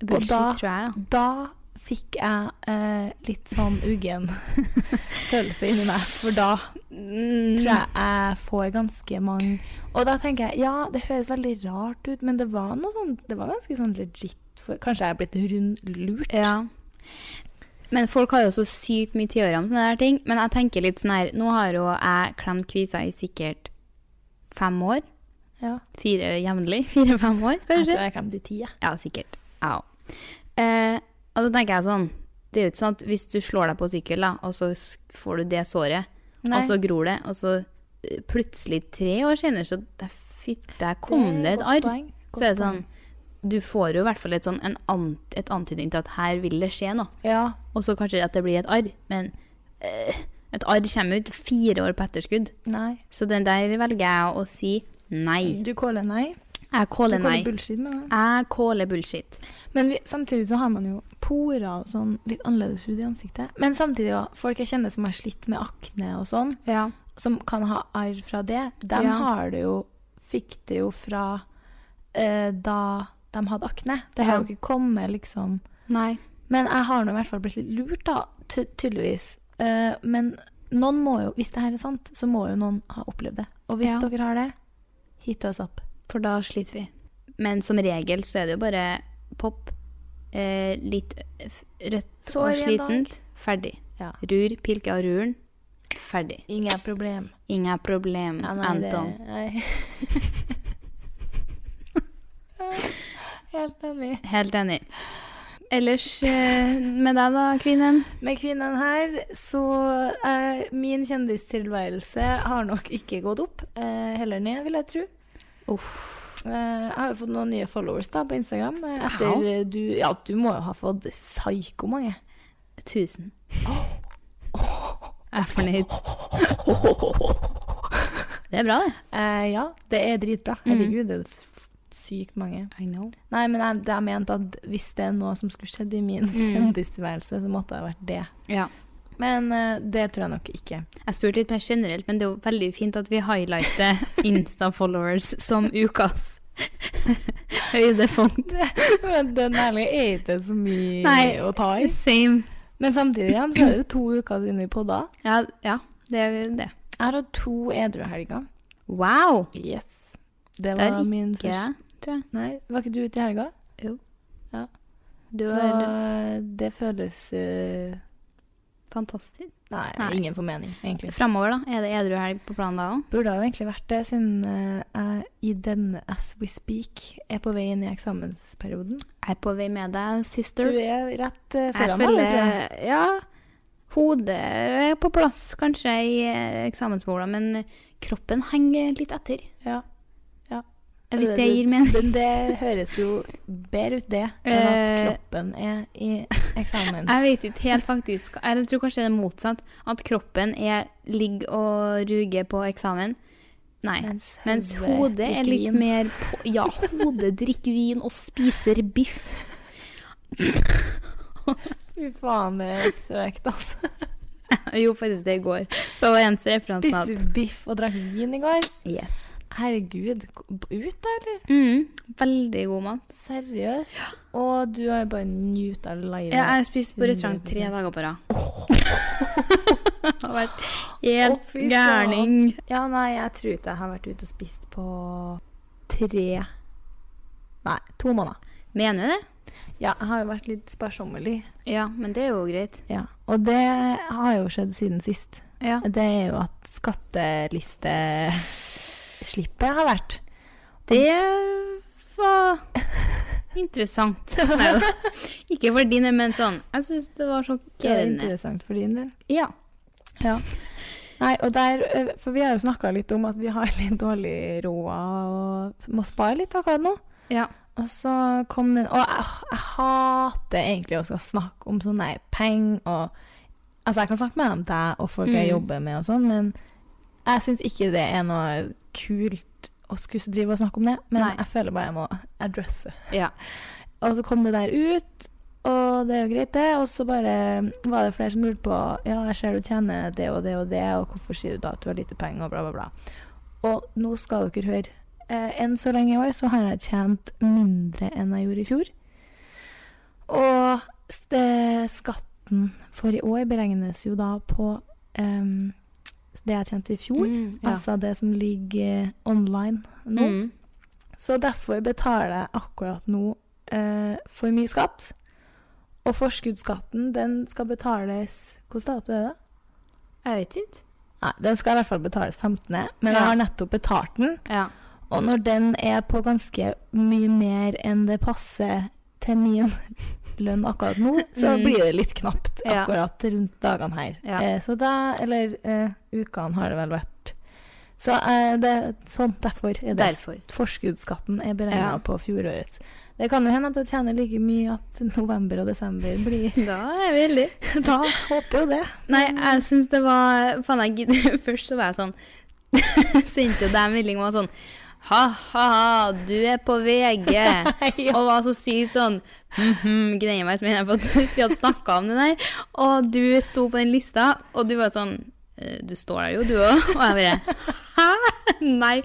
Speaker 5: Bullshit,
Speaker 4: da-
Speaker 5: tror jeg, da.
Speaker 4: Da fikk jeg eh, litt sånn uggen følelse inni meg, for da
Speaker 5: Mm.
Speaker 4: tror jeg jeg får ganske mange Og da tenker jeg ja, det høres veldig rart ut, men det var noe sånn Det var ganske sånn legit for Kanskje jeg er blitt rund lurt?
Speaker 5: Ja. Men folk har jo så sykt mye teorier om sånne der ting. Men jeg tenker litt sånn her Nå har jo jeg klemt kviser i sikkert fem år.
Speaker 4: Ja.
Speaker 5: Fire jevnlig. Fire-fem år,
Speaker 4: Jeg
Speaker 5: kanskje.
Speaker 4: tror jeg kommer til ti, jeg.
Speaker 5: Ja, sikkert. Ja. Eh, og da tenker jeg sånn Det er jo ikke sånn at hvis du slår deg på sykkel, da, og så s- får du det såret, og så gror det, og så eh, plutselig tre år senere, så der, fitt, der kom det et arr. Så er det sånn Du får jo i hvert fall et sånn en ant, et antydning til at her vil det skje noe.
Speaker 4: Ja.
Speaker 5: Og så kanskje at det blir et arr, men eh, et arr kommer ut fire år på etterskudd.
Speaker 4: Nei.
Speaker 5: Så den der velger jeg å si nei.
Speaker 4: Du caller nei.
Speaker 5: Jeg
Speaker 4: Du
Speaker 5: caller nei.
Speaker 4: caller bullshit med det.
Speaker 5: Jeg caller bullshit.
Speaker 4: Men vi, samtidig så har man jo porer og sånn litt annerledes hud i ansiktet. Men samtidig òg. Folk jeg kjenner som har slitt med akne og sånn,
Speaker 5: Ja.
Speaker 4: som kan ha arr fra det, de
Speaker 5: Ja.
Speaker 4: har det jo Fikk det jo fra eh, da de hadde akne. Det har
Speaker 5: Ja.
Speaker 4: jo ikke kommet, liksom.
Speaker 5: Nei.
Speaker 4: Men jeg har nå i hvert fall blitt litt lurt, da, ty tydeligvis. Eh, men noen må jo, hvis det her er sant, så må jo noen ha opplevd det. Og hvis
Speaker 5: Ja.
Speaker 4: dere har det, hit oss opp.
Speaker 5: For da sliter vi. Men som regel så er det jo bare pop, eh, litt f- rødt
Speaker 4: Sår
Speaker 5: og
Speaker 4: i en dag.
Speaker 5: slitent, ferdig.
Speaker 4: Ja.
Speaker 5: Rur, pilke av ruren, ferdig.
Speaker 4: Ingen problem.
Speaker 5: Ingen problem,
Speaker 4: Ja, nei, det-
Speaker 5: Anton.
Speaker 4: nei. Helt enig.
Speaker 5: Helt enig. Ellers eh, med deg da, kvinnen?
Speaker 4: Med kvinnen her, så eh, Min kjendistilværelse har nok ikke gått opp. Eh, heller ned, vil jeg tro. Eh, jeg har jo fått noen nye followers da på Instagram. eh,
Speaker 5: Wow.
Speaker 4: Etter eh, du Ja, du må jo ha fått psyko mange.
Speaker 5: 1000. Jeg er fornøyd. Det er bra, det.
Speaker 4: Eh, ja, det er dritbra.
Speaker 5: Mm.
Speaker 4: Herregud, det er f- sykt mange.
Speaker 5: I know.
Speaker 4: Nei, men jeg, det jeg mente at hvis det er noe som skulle skjedd i min kjendistilværelse, så måtte det ha vært det.
Speaker 5: Mm. Ja.
Speaker 4: Men eh, det tror jeg nok ikke.
Speaker 5: Jeg spurte litt mer generelt, men det er jo veldig fint at vi highlighter Insta-followers som ukas høydepunkt.
Speaker 4: Men den ærlig er ikke så mye
Speaker 5: Nei.
Speaker 4: å ta i.
Speaker 5: Same.
Speaker 4: Men samtidig igjen så er det jo to uker siden vi podda.
Speaker 5: Ja, ja det er det.
Speaker 4: Jeg har hatt to edru helger.
Speaker 5: Wow!
Speaker 4: Yes. Det
Speaker 5: Det er
Speaker 4: var min
Speaker 5: Ikke
Speaker 4: første
Speaker 5: jeg, tror jeg.
Speaker 4: Nei, var ikke du ute i helga?
Speaker 5: Jo.
Speaker 4: Ja.
Speaker 5: Du
Speaker 4: så
Speaker 5: har
Speaker 4: det føles eh,
Speaker 5: Fantastisk.
Speaker 4: Nei,
Speaker 5: Nei.
Speaker 4: ingen formening, egentlig.
Speaker 5: Framover, da? Er det edruhelg på planen da òg?
Speaker 4: Burde ha jo egentlig vært det, siden eh, jeg i denne as we speak er på vei inn i eksamensperioden.
Speaker 5: Jeg er på vei med deg,
Speaker 4: Du
Speaker 5: sister.
Speaker 4: er rett eh,
Speaker 5: Jeg
Speaker 4: foran meg, det tror jeg.
Speaker 5: føler- Ja. Hodet er på plass, kanskje, i eh, eksamensbola, men kroppen henger litt etter.
Speaker 4: Ja. Ja.
Speaker 5: Hvis det gir mening.
Speaker 4: Men det høres jo bedre ut, det, enn at
Speaker 5: Eh,
Speaker 4: kroppen er i eksamens...
Speaker 5: Jeg vet ikke helt faktisk. Jeg tror kanskje det er motsatt. At kroppen er ligg og ruger på eksamen. Nei.
Speaker 4: Mens
Speaker 5: Mens
Speaker 4: hodet
Speaker 5: hodet
Speaker 4: drikker
Speaker 5: er litt
Speaker 4: vin.
Speaker 5: mer på, Ja, hodet drikker vin og spiser biff.
Speaker 4: Fy faen, det er søkt, altså.
Speaker 5: Jo, faktisk, det går. Så var eneste referansen
Speaker 4: Spiste du biff og drakk vin i går?
Speaker 5: Yes.
Speaker 4: Herregud, gå- ut da, eller?
Speaker 5: Mm, veldig god mat.
Speaker 4: Seriøst? Og du har jo bare nyta livet.
Speaker 5: Ja, jeg har spist på restaurant tre dager på rad. Det har
Speaker 4: Å,
Speaker 5: vært helt
Speaker 4: fy faen.
Speaker 5: gærning.
Speaker 4: Ja, nei, jeg tror ikke jeg har vært ute og spist på tre Nei, to måneder.
Speaker 5: Mener du det?
Speaker 4: Ja, jeg har jo vært litt sparsommelig.
Speaker 5: Ja, men det er jo greit.
Speaker 4: Ja, Og det har jo skjedd siden sist.
Speaker 5: Ja.
Speaker 4: Det er jo at skattelisteslippet har vært.
Speaker 5: Det var interessant. Neida. Ikke for dine, men sånn. Jeg syns det var
Speaker 4: Det er
Speaker 5: sjokkerende.
Speaker 4: interessant for din del.
Speaker 5: Ja.
Speaker 4: Nei, og der, eh, For vi har jo snakka litt om at vi har litt dårlig råd og må spare litt akkurat nå.
Speaker 5: ja.
Speaker 4: Og så kom den Og jeg, jeg hater egentlig å skal snakke om sånne der penger og Altså, jeg kan snakke med dem deg og folk jeg
Speaker 5: Mm.
Speaker 4: jobber med og sånn, men jeg syns ikke det er noe kult å skulle drive og snakke om det. Men
Speaker 5: Nei.
Speaker 4: jeg føler bare jeg må addresse.
Speaker 5: Ja.
Speaker 4: Og så kom det der ut, og det er jo greit, det. Og så bare var det flere som lurte på Ja, jeg ser du tjener det og det og det, og hvorfor sier du da at du har lite penger, og bla, bla, bla. Og nå skal dere høre. Eh, enn så lenge i år så har jeg tjent mindre enn jeg gjorde i fjor. Og s- det, skatten for i år beregnes jo da på em, det jeg tjente i fjor.
Speaker 5: Mm, ja.
Speaker 4: Altså det som ligger eh, online nå.
Speaker 5: Mm.
Speaker 4: Så derfor betaler jeg akkurat nå eh, for mye skatt. Og forskuddsskatten, den skal betales Hvilken dato er det?
Speaker 5: Jeg vet ikke.
Speaker 4: Nei, den skal i hvert fall betales 15., men jeg
Speaker 5: Ja.
Speaker 4: har nettopp betalt den.
Speaker 5: Ja.
Speaker 4: Og når den er på ganske mye mer enn det passer til min lønn akkurat nå, så
Speaker 5: Mm.
Speaker 4: blir det litt knapt
Speaker 5: Ja.
Speaker 4: akkurat rundt dagene her.
Speaker 5: Ja.
Speaker 4: Eh, så da, eller eh, ukene har det vel vært. Så eh, det, sånn, derfor er det.
Speaker 5: Derfor.
Speaker 4: Forskuddsskatten er beregna
Speaker 5: Ja.
Speaker 4: på fjorårets. Det kan jo hende at jeg tjener like mye at november og desember blir
Speaker 5: Da er vi heldige.
Speaker 4: Da håper jo det.
Speaker 5: Nei, jeg syns det var Faen, jeg gidder Først så var jeg sånn Sendte jo deg en melding og var sånn Ha-ha, du er på VG. Og var så sykt sånn mhm, Greier meg som jeg på at vi hadde snakka om det der. Og du sto på den lista, og du var sånn «Eh, Du står der jo, du òg. Og jeg bare Hæ? Nei,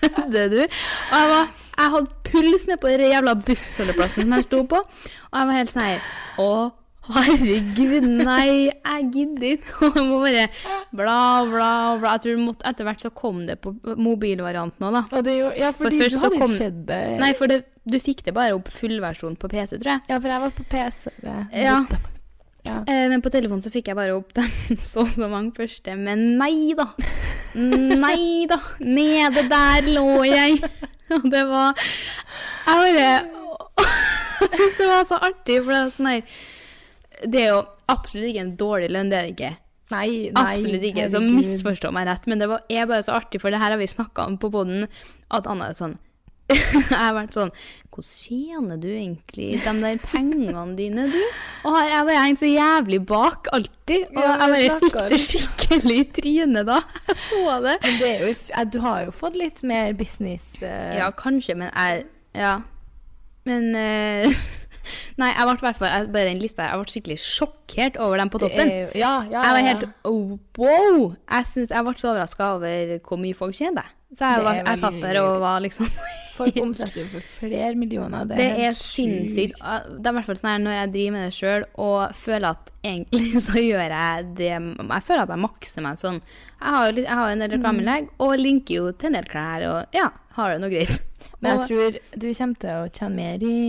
Speaker 5: kødder du? Og jeg var jeg hadde puls nede på den jævla bussholdeplassen som jeg sto på. Og jeg var helt sånn her Å, herregud, nei, jeg gidder ikke. Og jeg må bare bla, bla, bla. Jeg tror det måtte, etter hvert så kom det på mobilvarianten òg, da.
Speaker 4: Og det gjorde, ja, fordi
Speaker 5: først
Speaker 4: du
Speaker 5: så
Speaker 4: hadde
Speaker 5: kom-
Speaker 4: ikke eh. sett det.
Speaker 5: Nei, for det, du fikk det bare opp fullversjon på PC, tror jeg.
Speaker 4: Ja, for jeg var på PC.
Speaker 5: Ja.
Speaker 4: Ja.
Speaker 5: Eh, men på telefonen så fikk jeg bare opp dem så og så mange første. Men nei da! Nei da! Nede der lå jeg! Og det var Jeg bare Jeg synes det var så artig, for det er sånn her Det er jo absolutt ikke en dårlig lønn, det er det ikke.
Speaker 4: Nei, nei.
Speaker 5: Absolutt ikke. Så
Speaker 4: herregud.
Speaker 5: misforstå meg rett, men det var, er bare så artig, for det her har vi snakka om på poden, at Anna er sånn Jeg har vært sånn Hvordan tjener du egentlig de der pengene dine, du? Og her er bare hengt så jævlig bak, alltid. Og
Speaker 4: Ja, vi
Speaker 5: jeg bare fikk
Speaker 4: snakker
Speaker 5: det skikkelig i trynet da. Jeg så det.
Speaker 4: Men det er jo, if- eh, du har jo fått litt mer business eh,
Speaker 5: Ja, kanskje, men jeg Ja. Men eh, Nei, jeg ble i hvert fall jeg- Bare den lista her. Jeg ble skikkelig sjokkert over dem på
Speaker 4: det
Speaker 5: toppen.
Speaker 4: er jo- Ja, ja,
Speaker 5: Jeg
Speaker 4: ja,
Speaker 5: var
Speaker 4: ja.
Speaker 5: helt oh, wow! Jeg, synes, jeg ble så overraska over hvor mye folk tjener. Så jeg,
Speaker 4: Det
Speaker 5: var,
Speaker 4: er
Speaker 5: jeg satt der og var liksom
Speaker 4: Folk omsetter jo for flere millioner. Det er,
Speaker 5: Det
Speaker 4: helt
Speaker 5: er sinnssykt.
Speaker 4: sjukt.
Speaker 5: Det er i hvert fall sånn her når jeg driver med det sjøl og føler at egentlig så gjør jeg det Jeg føler at jeg makser meg sånn. Jeg har jo litt, jeg har jo en del reklameinnlegg og linker jo til en del klær og ja, har det noe greit.
Speaker 4: Men jeg
Speaker 5: Og-
Speaker 4: tror du kommer til å tjene mer i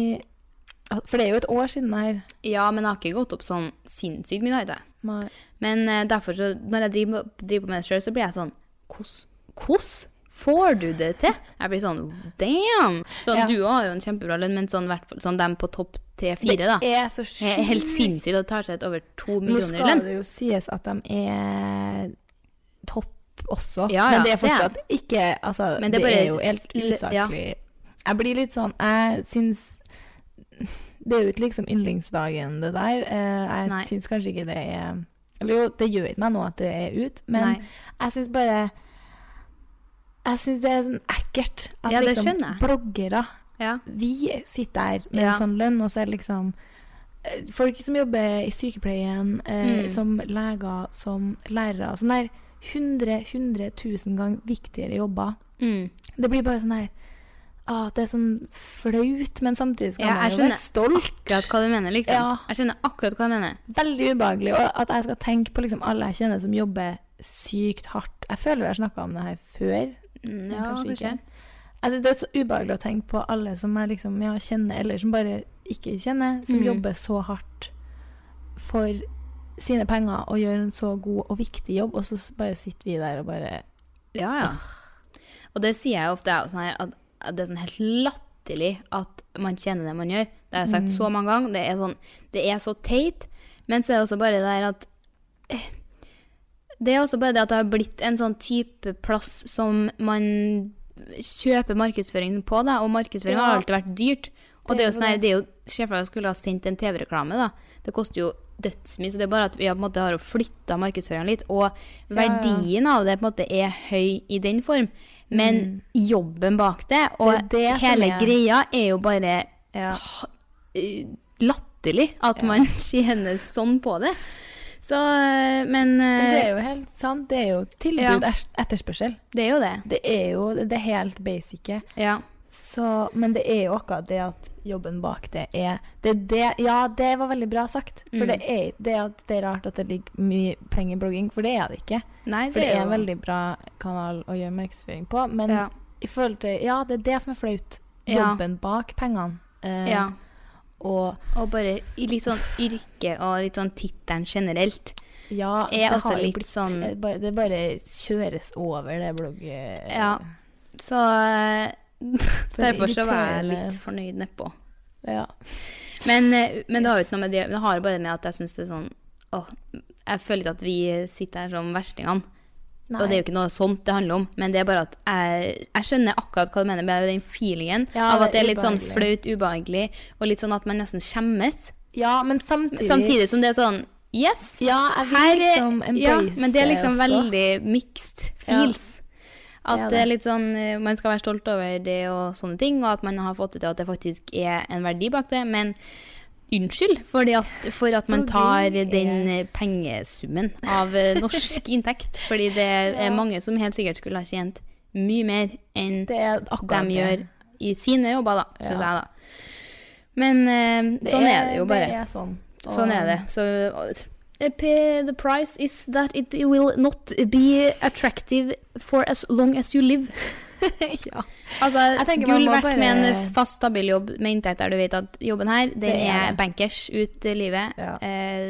Speaker 4: For det er jo et år siden det her.
Speaker 5: Ja, men jeg har ikke gått opp sånn sinnssykt mye, da, vet jeg.
Speaker 4: Nei.
Speaker 5: Men eh, derfor, så, når jeg driver, driver på med det sjøl, så blir jeg sånn Hvordan hvordan får du det til? Jeg blir sånn damn! Sånn,
Speaker 4: Ja.
Speaker 5: Du også har jo en kjempebra lønn, men sånn, hvert fall- sånn dem på topp tre-fire, da.
Speaker 4: Det er så
Speaker 5: Det er helt
Speaker 4: sjukt.
Speaker 5: sinnssykt at det tar seg et over to
Speaker 4: Nå
Speaker 5: millioner i
Speaker 4: skal
Speaker 5: lønn.
Speaker 4: det jo sies at de er topp også,
Speaker 5: Ja, ja,
Speaker 4: men det er
Speaker 5: det er.
Speaker 4: fortsatt ikke Altså,
Speaker 5: Men
Speaker 4: det,
Speaker 5: det er bare
Speaker 4: er jo helt
Speaker 5: l- ja.
Speaker 4: usaklig. Jeg blir litt sånn Jeg syns Det er jo ikke liksom yndlingsdagen, det der. Eh,
Speaker 5: Nei.
Speaker 4: Jeg syns kanskje ikke det er Eller jo, det gjør ikke meg noe at det er ut, men
Speaker 5: Nei.
Speaker 4: jeg syns bare Jeg syns det er sånn ekkelt at
Speaker 5: Ja, det
Speaker 4: liksom
Speaker 5: skjønner jeg.
Speaker 4: bloggere
Speaker 5: Ja.
Speaker 4: vi sitter her med
Speaker 5: Ja.
Speaker 4: en sånn lønn, og så er det liksom eh, folk som jobber i sykepleien, eh,
Speaker 5: Mm.
Speaker 4: som leger, som lærere. Sånn der 100 100 000 ganger viktigere jobber.
Speaker 5: Mm.
Speaker 4: Det blir bare sånn her ah, Det er sånn flaut, men samtidig skal
Speaker 5: Ja,
Speaker 4: man
Speaker 5: jeg
Speaker 4: jo være
Speaker 5: skjønner
Speaker 4: stolt.
Speaker 5: akkurat hva du mener, liksom.
Speaker 4: Ja.
Speaker 5: Jeg skjønner akkurat hva du mener.
Speaker 4: Veldig ubehagelig. Og at jeg skal tenke på liksom alle jeg kjenner som jobber sykt hardt. Jeg føler vi har snakka om det her før.
Speaker 5: Mm,
Speaker 4: men
Speaker 5: Ja, kanskje.
Speaker 4: Altså, det er så ubehagelig å tenke på alle som jeg liksom, ja, kjenner, eller som bare ikke kjenner, som
Speaker 5: Mm.
Speaker 4: jobber så hardt for sine penger og gjør en så god og viktig jobb, og så s- bare sitter vi der og bare
Speaker 5: Ja, ja. Og det sier jeg jo ofte, jeg også, sånn her, at- at det er sånn helt latterlig at man tjener det man gjør. Det har jeg sagt så mange ganger. Det er, sånn, det er så teit. Men så er det også bare det der at eh, Det er også bare det at det har blitt en sånn type plass som man kjøper markedsføring på, da, og markedsføring har
Speaker 4: Ja.
Speaker 5: alltid vært dyrt. Og det
Speaker 4: Det
Speaker 5: er
Speaker 4: er
Speaker 5: jo sånn
Speaker 4: jo
Speaker 5: her,
Speaker 4: det.
Speaker 5: det er jo Se for deg at jeg skulle ha sendt en TV-reklame, da. Det koster jo dødsmye, så det er bare at vi har, på en måte, har flytta markedsføringen litt. Og verdien av det på en måte er høy i den form, men jobben bak det, og
Speaker 4: Mm. Det er det som
Speaker 5: hele
Speaker 4: er-
Speaker 5: greia, er jo bare
Speaker 4: Ja.
Speaker 5: ha- eh, latterlig at man tjener sånn på det. Så eh,
Speaker 4: Men
Speaker 5: Men
Speaker 4: Det
Speaker 5: eh,
Speaker 4: er jo helt sant. Det er jo tilbud
Speaker 5: Ja.
Speaker 4: ers- etterspørsel.
Speaker 5: det er jo det.
Speaker 4: Det er jo det helt basice.
Speaker 5: Ja.
Speaker 4: Så, men det er jo akkurat det at jobben bak det er det, er det Ja, det var veldig bra sagt. For
Speaker 5: Mm.
Speaker 4: det, er, det, er, at det er rart at det ligger mye penger i blogging, for det er det ikke.
Speaker 5: Nei,
Speaker 4: For det er en
Speaker 5: jo
Speaker 4: veldig bra kanal å gjøre markedsføring på, men
Speaker 5: ja.
Speaker 4: i forhold til Ja, det er det som er flaut.
Speaker 5: Ja.
Speaker 4: Jobben bak pengene. Eh,
Speaker 5: ja.
Speaker 4: Og
Speaker 5: Og bare i litt sånn yrke og litt sånn tittelen generelt.
Speaker 4: ja,
Speaker 5: Er
Speaker 4: det
Speaker 5: også
Speaker 4: har jo
Speaker 5: litt
Speaker 4: blitt
Speaker 5: sånn-
Speaker 4: eh, bare- Det bare kjøres over, det blogget.
Speaker 5: Ja. Så eh, derfor så var jeg
Speaker 4: irriterende.
Speaker 5: litt fornøyd nedpå.
Speaker 4: Ja.
Speaker 5: Men, eh, men det har jo ikke noe med det Det har bare med at jeg syns det er sånn åh, Jeg føler ikke at vi sitter her som verstingene. Og det er jo ikke noe sånt det handler om, men det er bare at jeg, jeg skjønner akkurat hva du mener med den feelingen
Speaker 4: Ja,
Speaker 5: av at det
Speaker 4: det
Speaker 5: er
Speaker 4: er
Speaker 5: litt sånn
Speaker 4: ubehagelig.
Speaker 5: flaut, ubehagelig, og litt sånn at man nesten skjemmes.
Speaker 4: Ja, men samtidig
Speaker 5: Samtidig som det er sånn Yes!
Speaker 4: Ja, jeg vil
Speaker 5: Her, er-
Speaker 4: liksom embrace
Speaker 5: ja, men det er liksom
Speaker 4: også.
Speaker 5: veldig mixed feels.
Speaker 4: det
Speaker 5: At
Speaker 4: er
Speaker 5: det er
Speaker 4: det.
Speaker 5: litt sånn, eh, man skal være stolt over det og sånne ting, og at man har fått det til at det faktisk er en verdi bak det. Men unnskyld fordi at, for at man tar
Speaker 4: Blogging er-
Speaker 5: den eh, pengesummen av eh, norsk inntekt. Fordi det er mange som helt sikkert skulle ha tjent mye mer enn
Speaker 4: Det er akkurat
Speaker 5: de
Speaker 4: det.
Speaker 5: gjør i sine jobber, da, synes
Speaker 4: Ja.
Speaker 5: jeg, da. Men eh, sånn er, det jo bare.
Speaker 4: Det er sånn. Og-
Speaker 5: Sånn er det. Så eh, p- The price is that it will not be attractive for as long as you live.
Speaker 4: ja. Jeg
Speaker 5: Altså,
Speaker 4: tenker man
Speaker 5: gull
Speaker 4: må
Speaker 5: verdt
Speaker 4: bare-
Speaker 5: med en fast, stabil jobb med inntekt der du vet at jobben her, den
Speaker 4: Det er
Speaker 5: er
Speaker 4: det.
Speaker 5: bankers ut i livet.
Speaker 4: Ja.
Speaker 5: Eh,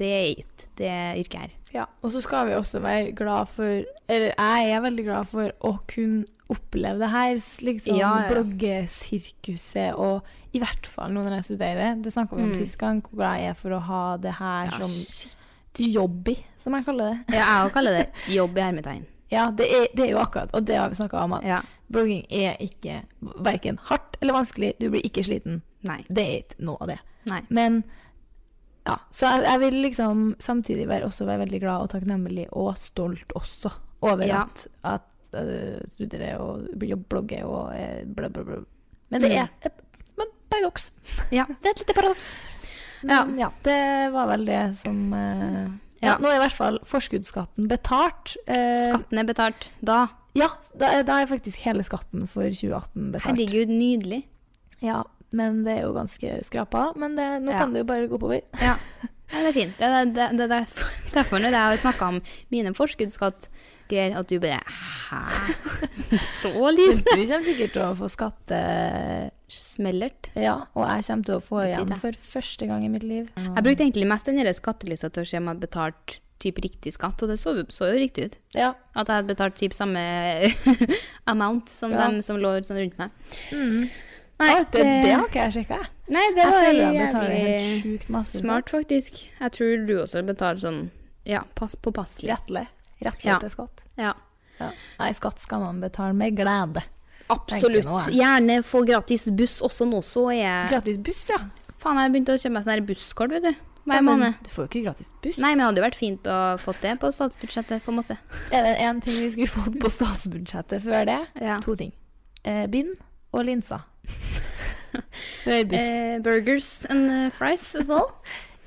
Speaker 5: det er it, det yrket her.
Speaker 4: Ja, og så skal vi også være glad for Eller jeg er veldig glad for å kunne oppleve det her. s- Liksom
Speaker 5: Ja, ja.
Speaker 4: bloggesirkuset og i hvert fall nå når jeg studerer. Det snakka vi om
Speaker 5: Mm.
Speaker 4: sist gang, hvor glad jeg er for å ha det her
Speaker 5: Ja,
Speaker 4: som
Speaker 5: shit.
Speaker 4: jobby, som jeg kaller det.
Speaker 5: Ja, jeg òg kaller det jobb i hermetegn.
Speaker 4: Ja, det er, det er jo akkurat, og det har vi snakka om, at
Speaker 5: Ja.
Speaker 4: blogging er ikke verken hardt eller vanskelig. Du blir ikke sliten.
Speaker 5: Nei.
Speaker 4: Det er ikke noe av det.
Speaker 5: Nei.
Speaker 4: Men ja, så jeg, jeg vil liksom samtidig være, også være veldig glad og takknemlig og stolt også over
Speaker 5: Ja.
Speaker 4: at, at eh, studerer og jobb- blogger og eh, bla, bla, bla. Men det
Speaker 5: Mm.
Speaker 4: er et men paradoks.
Speaker 5: Ja, det er et lite paradoks. Ja.
Speaker 4: Men ja, det var vel det som eh, ja.
Speaker 5: Ja.
Speaker 4: Nå er i hvert fall forskuddsskatten betalt. Eh,
Speaker 5: Skatten er betalt da.
Speaker 4: Ja, da, er- da er faktisk hele skatten for 2018 betalt.
Speaker 5: Herregud, nydelig.
Speaker 4: Ja, men det er jo ganske skrapa. Men det, nå
Speaker 5: Ja.
Speaker 4: kan det jo bare gå oppover.
Speaker 5: Ja. Ja, det er fint. Det er, det, det, det er derfor når jeg har snakka om mine forskuddsskattgreier, at du bare Hæ? Så
Speaker 4: Men
Speaker 5: lite?
Speaker 4: Du kommer sikkert til å få skatte...
Speaker 5: Smellert.
Speaker 4: Ja, og jeg kommer til å få
Speaker 5: Litt
Speaker 4: igjen
Speaker 5: lite.
Speaker 4: for første gang i mitt liv.
Speaker 5: Jeg brukte egentlig mest den der skattelysta til å se om jeg hadde betalt typ riktig skatt, og det så, så jo riktig ut.
Speaker 4: Ja.
Speaker 5: At jeg hadde betalt typ samme amount som
Speaker 4: Ja.
Speaker 5: dem som lå sånn rundt meg.
Speaker 4: Nei,
Speaker 5: Mm. Nei, eh,
Speaker 4: det, det har ikke jeg sjekka.
Speaker 5: nei, det
Speaker 4: Jeg
Speaker 5: var
Speaker 4: føler jeg betaler helt
Speaker 5: jævlig
Speaker 4: sjukt masse.
Speaker 5: smart, faktisk. Jeg tror du også betaler sånn ja, pass påpasselig.
Speaker 4: Rettelig. Rettelig
Speaker 5: Ja.
Speaker 4: til skatt.
Speaker 5: Ja.
Speaker 4: Ja. Nei, skatt skal man betale med glede. Tenker nå,
Speaker 5: Absolutt.
Speaker 4: jeg.
Speaker 5: Gjerne få gratis buss også nå, så er jeg
Speaker 4: Gratis buss, ja.
Speaker 5: Faen, jeg begynte å kjøpe meg sånn her busskort, vet du.
Speaker 4: Ja,
Speaker 5: Hver
Speaker 4: men
Speaker 5: måned.
Speaker 4: Du får jo ikke gratis buss.
Speaker 5: Nei, men det hadde jo vært fint å fått det på statsbudsjettet, på en måte.
Speaker 4: Er det en ting vi skulle fått på statsbudsjettet før det?
Speaker 5: Ja.
Speaker 4: To ting. Eh, bind og linser. før buss.
Speaker 5: Eh, burgers and eh, fries as well.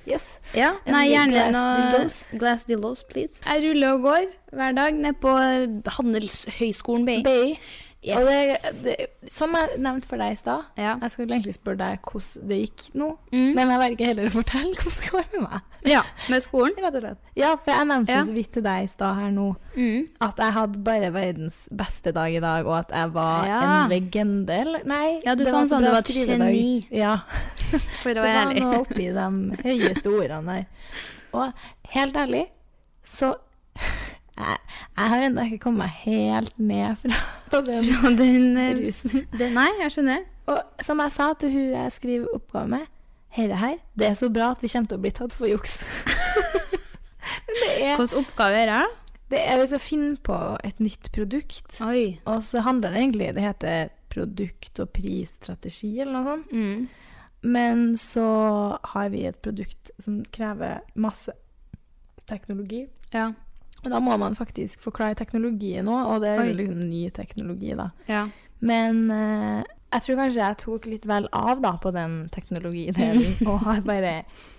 Speaker 4: yes.
Speaker 5: Ja,
Speaker 4: And
Speaker 5: nei,
Speaker 4: the
Speaker 5: gjerne
Speaker 4: glass
Speaker 5: noe
Speaker 4: dildos.
Speaker 5: Glass dildos, please. Jeg ruller og går hver dag ned på Handelshøyskolen BI.
Speaker 4: Bay.
Speaker 5: Yes.
Speaker 4: Og det, det, som jeg nevnte for deg i stad,
Speaker 5: Ja.
Speaker 4: jeg skulle egentlig spørre deg hvordan det gikk nå,
Speaker 5: Mm.
Speaker 4: men jeg velger heller å fortelle hvordan det går med meg.
Speaker 5: ja, med skolen.
Speaker 4: Rett og slett. Ja, for jeg nevnte jo
Speaker 5: Ja.
Speaker 4: så vidt til deg i stad her nå
Speaker 5: Mm.
Speaker 4: at jeg hadde bare verdens beste dag i dag, og at jeg var
Speaker 5: Ja.
Speaker 4: en legende. eller- Nei,
Speaker 5: Ja, du sa
Speaker 4: så bra
Speaker 5: sånn, du var et
Speaker 4: skrivedag.
Speaker 5: geni.
Speaker 4: Ja.
Speaker 5: For
Speaker 4: Det
Speaker 5: å være
Speaker 4: var
Speaker 5: ærlig.
Speaker 4: noe oppi de høyeste ordene der. Og helt ærlig, så jeg, jeg har ennå ikke kommet meg helt ned fra den
Speaker 5: Fra den, eh,
Speaker 4: rusen.
Speaker 5: den Nei, jeg skjønner.
Speaker 4: Og som jeg sa til hun jeg skriver oppgave med, dette her, det er så bra at vi kommer til å bli tatt for juks. Men det er
Speaker 5: Hvilken oppgave er det? her,
Speaker 4: det er hvis jeg finner på et nytt produkt,
Speaker 5: da? Oi.
Speaker 4: og så handler det egentlig Det heter produkt- og prisstrategi eller noe sånt.
Speaker 5: Mm.
Speaker 4: Men så har vi et produkt som krever masse teknologi.
Speaker 5: Ja.
Speaker 4: Og da må man faktisk forklare teknologien òg, og det er
Speaker 5: Oi.
Speaker 4: jo liksom ny teknologi, da.
Speaker 5: ja.
Speaker 4: Men eh, jeg tror kanskje jeg tok litt vel av da på den teknologidelen, og har bare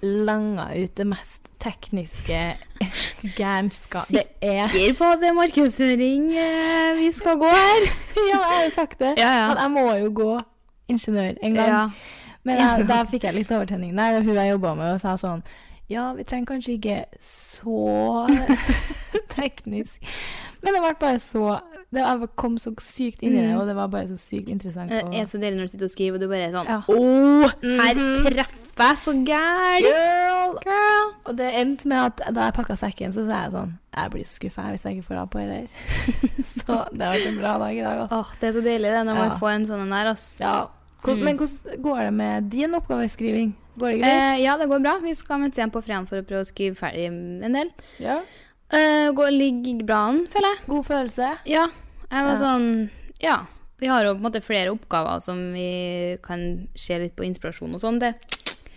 Speaker 4: langa ut det mest tekniske gærenskap Det er
Speaker 5: Sikker på at det er markedsføring eh, vi skal gå her?
Speaker 4: Ja, jeg har jo sagt det.
Speaker 5: Ja, ja.
Speaker 4: At jeg må jo gå ingeniør en gang.
Speaker 5: Ja.
Speaker 4: Men jeg, da fikk jeg litt overtenning der, og hun jeg jobba med, og sa sånn Ja, vi trenger kanskje ikke så teknisk Men det ble bare så det, Jeg kom så sykt inn i det,
Speaker 5: Mm.
Speaker 4: og det var bare så sykt interessant.
Speaker 5: Det
Speaker 4: og-
Speaker 5: er så deilig når du sitter og skriver, og du bare er sånn
Speaker 4: Ja.
Speaker 5: Åh, her
Speaker 4: Mhm.
Speaker 5: treffer jeg så gæren!
Speaker 4: Girl! Og det endte med at da jeg pakka sekken, så sa jeg sånn Jeg blir så skuffa hvis jeg ikke får av på dette. her." så det har vært en bra dag i dag. Altså.
Speaker 5: Åh, det er så deilig det, når man
Speaker 4: Ja.
Speaker 5: får en sånn en der, ass.
Speaker 4: Ja. Hvordan,
Speaker 5: Mm.
Speaker 4: Men hvordan går det med din oppgaveskriving? Går det greit?
Speaker 5: Eh, ja, det går bra. Vi skal møtes igjen på fredag for å prøve å skrive ferdig en del.
Speaker 4: ja.
Speaker 5: Eh, går, ligger bra an, føler jeg.
Speaker 4: God følelse?
Speaker 5: Ja. Jeg var
Speaker 4: Ja.
Speaker 5: sånn Ja. Vi har jo på en måte flere oppgaver som vi kan se litt på inspirasjon og sånn, det.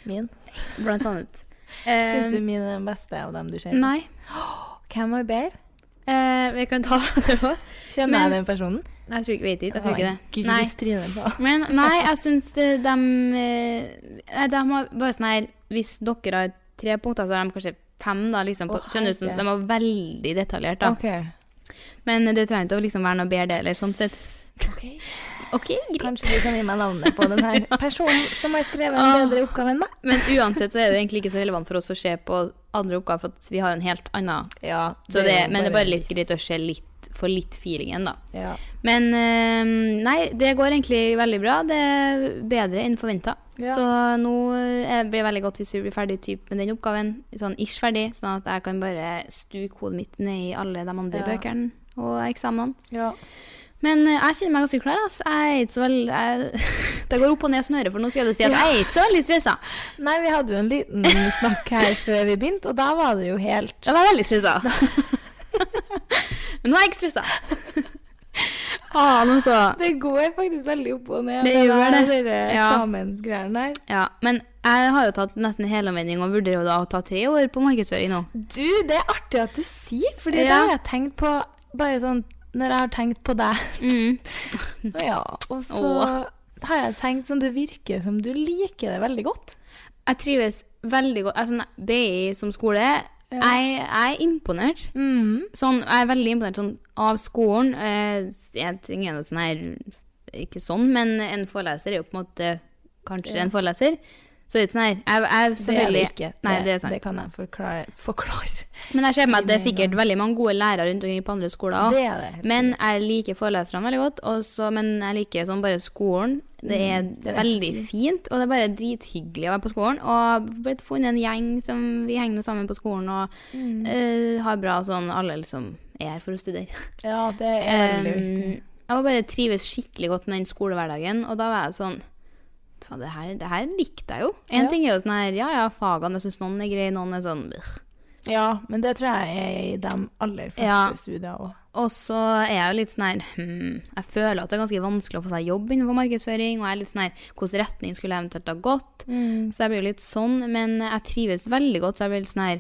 Speaker 4: Min.
Speaker 5: Blant annet.
Speaker 4: Syns du
Speaker 5: Eh,
Speaker 4: min er den beste av dem du ser?
Speaker 5: Nei.
Speaker 4: Hvem var bedre?
Speaker 5: Eh, vi kan ta det på.
Speaker 4: Kjenner
Speaker 5: Men-
Speaker 4: jeg den personen?
Speaker 5: Jeg tror ikke, vet ikke, jeg tror ikke det. Nei.
Speaker 4: Grus trynet på.
Speaker 5: Men nei, jeg syns de, de har bare sånn her Hvis dere har tre punkter, så har de kanskje fem, da. Liksom, på,
Speaker 4: Å,
Speaker 5: skjønner du? sånn-
Speaker 4: herre.
Speaker 5: De var veldig detaljert, da.
Speaker 4: Ok.
Speaker 5: Men det trenger ikke å liksom være noe bedre, eller sånn sett. Ok, greit.
Speaker 4: Kanskje du kan gi meg navnet på den her personen som har skrevet
Speaker 5: Ah.
Speaker 4: en bedre oppgave enn meg?
Speaker 5: Men uansett så er det jo egentlig ikke så relevant for oss å se på andre oppgaver, for at vi har en helt annen.
Speaker 4: Ja,
Speaker 5: Så det, men det er bare litt greit å se litt, få litt feelingen, da.
Speaker 4: Ja.
Speaker 5: Men eh, nei, det går egentlig veldig bra. Det er bedre enn forventa.
Speaker 4: Ja.
Speaker 5: Så nå eh, blir det veldig godt hvis vi blir ferdig typ, med den oppgaven. Sånn ish ferdig, sånn at jeg kan bare stuke hodet mitt ned i alle de andre
Speaker 4: Ja.
Speaker 5: bøkene og eksamenene.
Speaker 4: ja.
Speaker 5: Men eh, jeg kjenner meg ganske klar. ass. Jeg er ikke så veldig jeg, Det går opp og ned som øret, for nå skal jeg si at jeg er ikke så veldig stressa.
Speaker 4: Nei, vi hadde jo en liten snakk her før vi begynte, og da var det jo helt
Speaker 5: Jeg var veldig stressa. Men nå er jeg ikke stressa.
Speaker 4: Ah,
Speaker 5: Faen, altså.
Speaker 4: Det går faktisk veldig opp og ned.
Speaker 5: Det
Speaker 4: med
Speaker 5: gjør
Speaker 4: der-
Speaker 5: det.
Speaker 4: dere
Speaker 5: Ja.
Speaker 4: Eksamensgreiene der.
Speaker 5: Ja, men jeg har jo tatt nesten helomvending og vurderer jo da å ta tre år på markedsføring nå.
Speaker 4: Du, det er artig at du sier, for det
Speaker 5: Ja.
Speaker 4: har jeg tenkt på bare sånn når jeg har tenkt på deg.
Speaker 5: Mm.
Speaker 4: Ja, og så
Speaker 5: Åh.
Speaker 4: har jeg tenkt sånn, det virker som du liker det veldig godt.
Speaker 5: Jeg trives veldig godt. Altså, nei, BI som skole, jeg, jeg er imponert.
Speaker 4: Mm,
Speaker 5: Sånn, jeg er veldig imponert sånn, av skolen. Eh, Jeg trenger noe sånn her, ikke sånn, men en foreleser er jo på en måte kanskje en foreleser. Så det er ikke sånn her jeg, jeg,
Speaker 4: Det er det
Speaker 5: selvfølgelig-
Speaker 4: ikke.
Speaker 5: Nei, det er sant.
Speaker 4: Det kan jeg forklare. forklare.
Speaker 5: Men jeg ser for meg at det
Speaker 4: Si med
Speaker 5: er
Speaker 4: en
Speaker 5: sikkert veldig mange gode lærere rundt omkring på andre skoler også.
Speaker 4: Det er det.
Speaker 5: Men jeg liker foreleserne veldig godt, og så- men jeg liker sånn bare skolen. Det er
Speaker 4: Mm, den er så
Speaker 5: veldig
Speaker 4: fin.
Speaker 5: fint, og det er bare drithyggelig å være på skolen. Og jeg har blitt funnet en gjeng som vi henger sammen på skolen og
Speaker 4: Mm.
Speaker 5: eh, har bra sånn alle liksom er her for å studere.
Speaker 4: Ja, det er veldig viktig.
Speaker 5: Um, jeg var bare trives skikkelig godt med den skolehverdagen, og da var jeg sånn Faen, det her, det her likte jeg jo. En
Speaker 4: Ja.
Speaker 5: ting er jo sånn her, ja ja, fagene, jeg syns noen er greie, noen er sånn "Bæh."
Speaker 4: Ja, men det tror jeg er i de aller fleste
Speaker 5: Ja.
Speaker 4: studier òg.
Speaker 5: Og så er jeg jo litt sånn her hmm, Jeg føler at det er ganske vanskelig å få seg jobb innenfor markedsføring. Og jeg er litt sånn her Hvilken retning skulle jeg eventuelt ha gått?
Speaker 4: Mm.
Speaker 5: Så jeg blir jo litt sånn, men jeg trives veldig godt, så jeg blir litt sånn her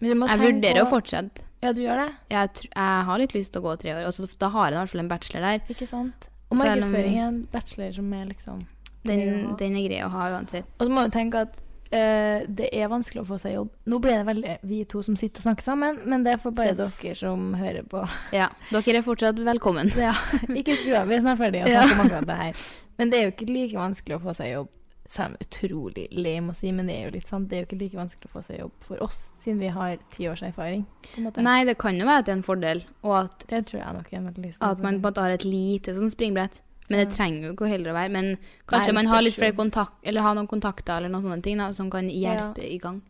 Speaker 4: Men du må
Speaker 5: Jeg
Speaker 4: tenke
Speaker 5: vurderer å
Speaker 4: på-
Speaker 5: fortsette.
Speaker 4: Ja, du gjør det?
Speaker 5: Jeg, tr jeg har litt lyst til å gå tre år, og så da har jeg i hvert fall en bachelor der.
Speaker 4: Ikke sant? Og
Speaker 5: Så er det
Speaker 4: markedsføring er en bachelor som er liksom
Speaker 5: Den,
Speaker 4: Ja.
Speaker 5: den er grei å ha uansett.
Speaker 4: Og så må du tenke at eh, det er vanskelig å få seg jobb. Nå ble det veldig vi to som sitter og snakker sammen, men det er for bare dere som hører på.
Speaker 5: Ja. Dere er fortsatt velkommen.
Speaker 4: Ja, ikke skru av, vi er snart ferdige å
Speaker 5: Ja.
Speaker 4: snakke om akkurat det her. Men det er jo ikke like vanskelig å få seg jobb. Selv om utrolig lame å si, men det er jo litt sant. Det er jo ikke like vanskelig å få seg jobb for oss, siden vi har ti års erfaring. På en måte.
Speaker 5: Nei, det kan jo være at det er en fordel, og at
Speaker 4: Det tror jeg nok er en veldig stor
Speaker 5: At man på en måte har et lite sånn springbrett. Men det trenger jo ikke heller å være. Men
Speaker 4: Nei,
Speaker 5: kanskje
Speaker 4: det
Speaker 5: man har litt
Speaker 4: spørs jo.
Speaker 5: flere kontakt, eller har noen kontakter eller noen sånne ting da, som kan hjelpe
Speaker 4: Ja.
Speaker 5: i gang.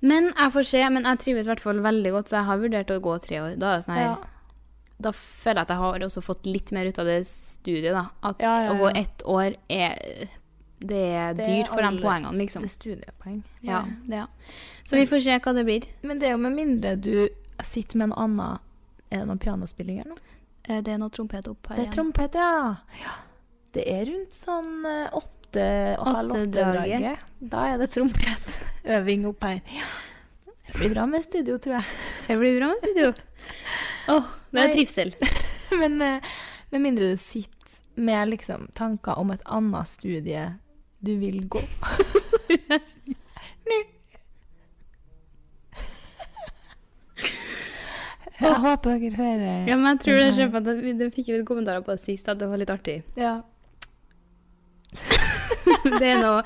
Speaker 5: Men jeg får se. Men jeg trives i hvert fall veldig godt, så jeg har vurdert å gå tre år. Da, er det sånn her,
Speaker 4: Ja.
Speaker 5: da føler jeg at jeg har også fått litt mer ut av det studiet. da. At
Speaker 4: Ja, ja,
Speaker 5: å gå
Speaker 4: ja.
Speaker 5: ett år er Det er
Speaker 4: Det er
Speaker 5: dyrt for
Speaker 4: aldri-
Speaker 5: de poengene, liksom.
Speaker 4: Det er studiepoeng.
Speaker 5: Ja, det, ja. Så vi får se hva det blir.
Speaker 4: Men det er jo med mindre du sitter med en annen Er det noen pianospilling her nå?
Speaker 5: Eh, Det er noe trompet opp her.
Speaker 4: Det er
Speaker 5: igjen.
Speaker 4: trompet, ja. ja. Det er rundt sånn eh, åtte og halv
Speaker 5: Åttedraget.
Speaker 4: åtte-draget. Da er det trompetøving opp her. Ja. Det blir bra med studio, tror jeg.
Speaker 5: Det blir bra med studio. Åh, det
Speaker 4: Nei.
Speaker 5: er trivsel.
Speaker 4: Men eh, med mindre du sitter med liksom tanker om et annet studie du vil gå. Nå. Jeg håper dere hører
Speaker 5: Ja, men jeg tror det
Speaker 4: Den her-
Speaker 5: skjer for at det, det fikk litt kommentarer på det sist, at det var litt artig.
Speaker 4: Ja.
Speaker 5: Det er noe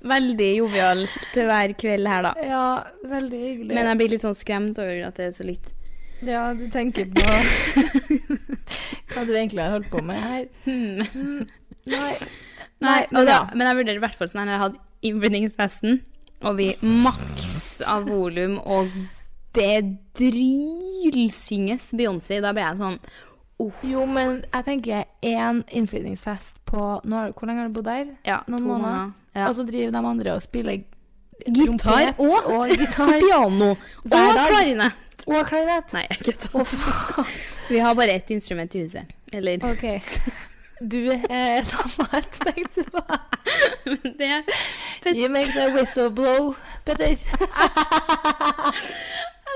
Speaker 5: veldig jovialt til hver kveld her, da.
Speaker 4: ja, veldig hyggelig.
Speaker 5: Men jeg blir litt sånn skremt over at det er så litt.
Speaker 4: Ja, du tenker på hva du egentlig har holdt på med her.
Speaker 5: Hmm.
Speaker 4: Mm, Nei.
Speaker 5: Nei,
Speaker 4: men
Speaker 5: og
Speaker 4: ja.
Speaker 5: da, men jeg vurderer i hvert fall sånn her, når jeg hadde innblindingsfesten, og vi maks av volum, og det drylsynges Beyoncé, da ble jeg sånn
Speaker 4: Jo, men jeg tenker én innflytningsfest på nå har, Hvor lenge har du bodd der?
Speaker 5: Ja,
Speaker 4: Noen
Speaker 5: to
Speaker 4: måneder.
Speaker 5: måneder. Ja.
Speaker 4: Og så driver de andre og spiller
Speaker 5: Gitar
Speaker 4: trompet
Speaker 5: og,
Speaker 4: og gitar.
Speaker 5: piano. Og
Speaker 4: Hver dag.
Speaker 5: klarinett.
Speaker 4: og klarinett.
Speaker 5: Nei, jeg kødder. Vi har bare ett instrument i huset. Eller
Speaker 4: OK. Du eh, er et annet, tenkte jeg.
Speaker 5: det
Speaker 4: You make the whistle blow, Petter.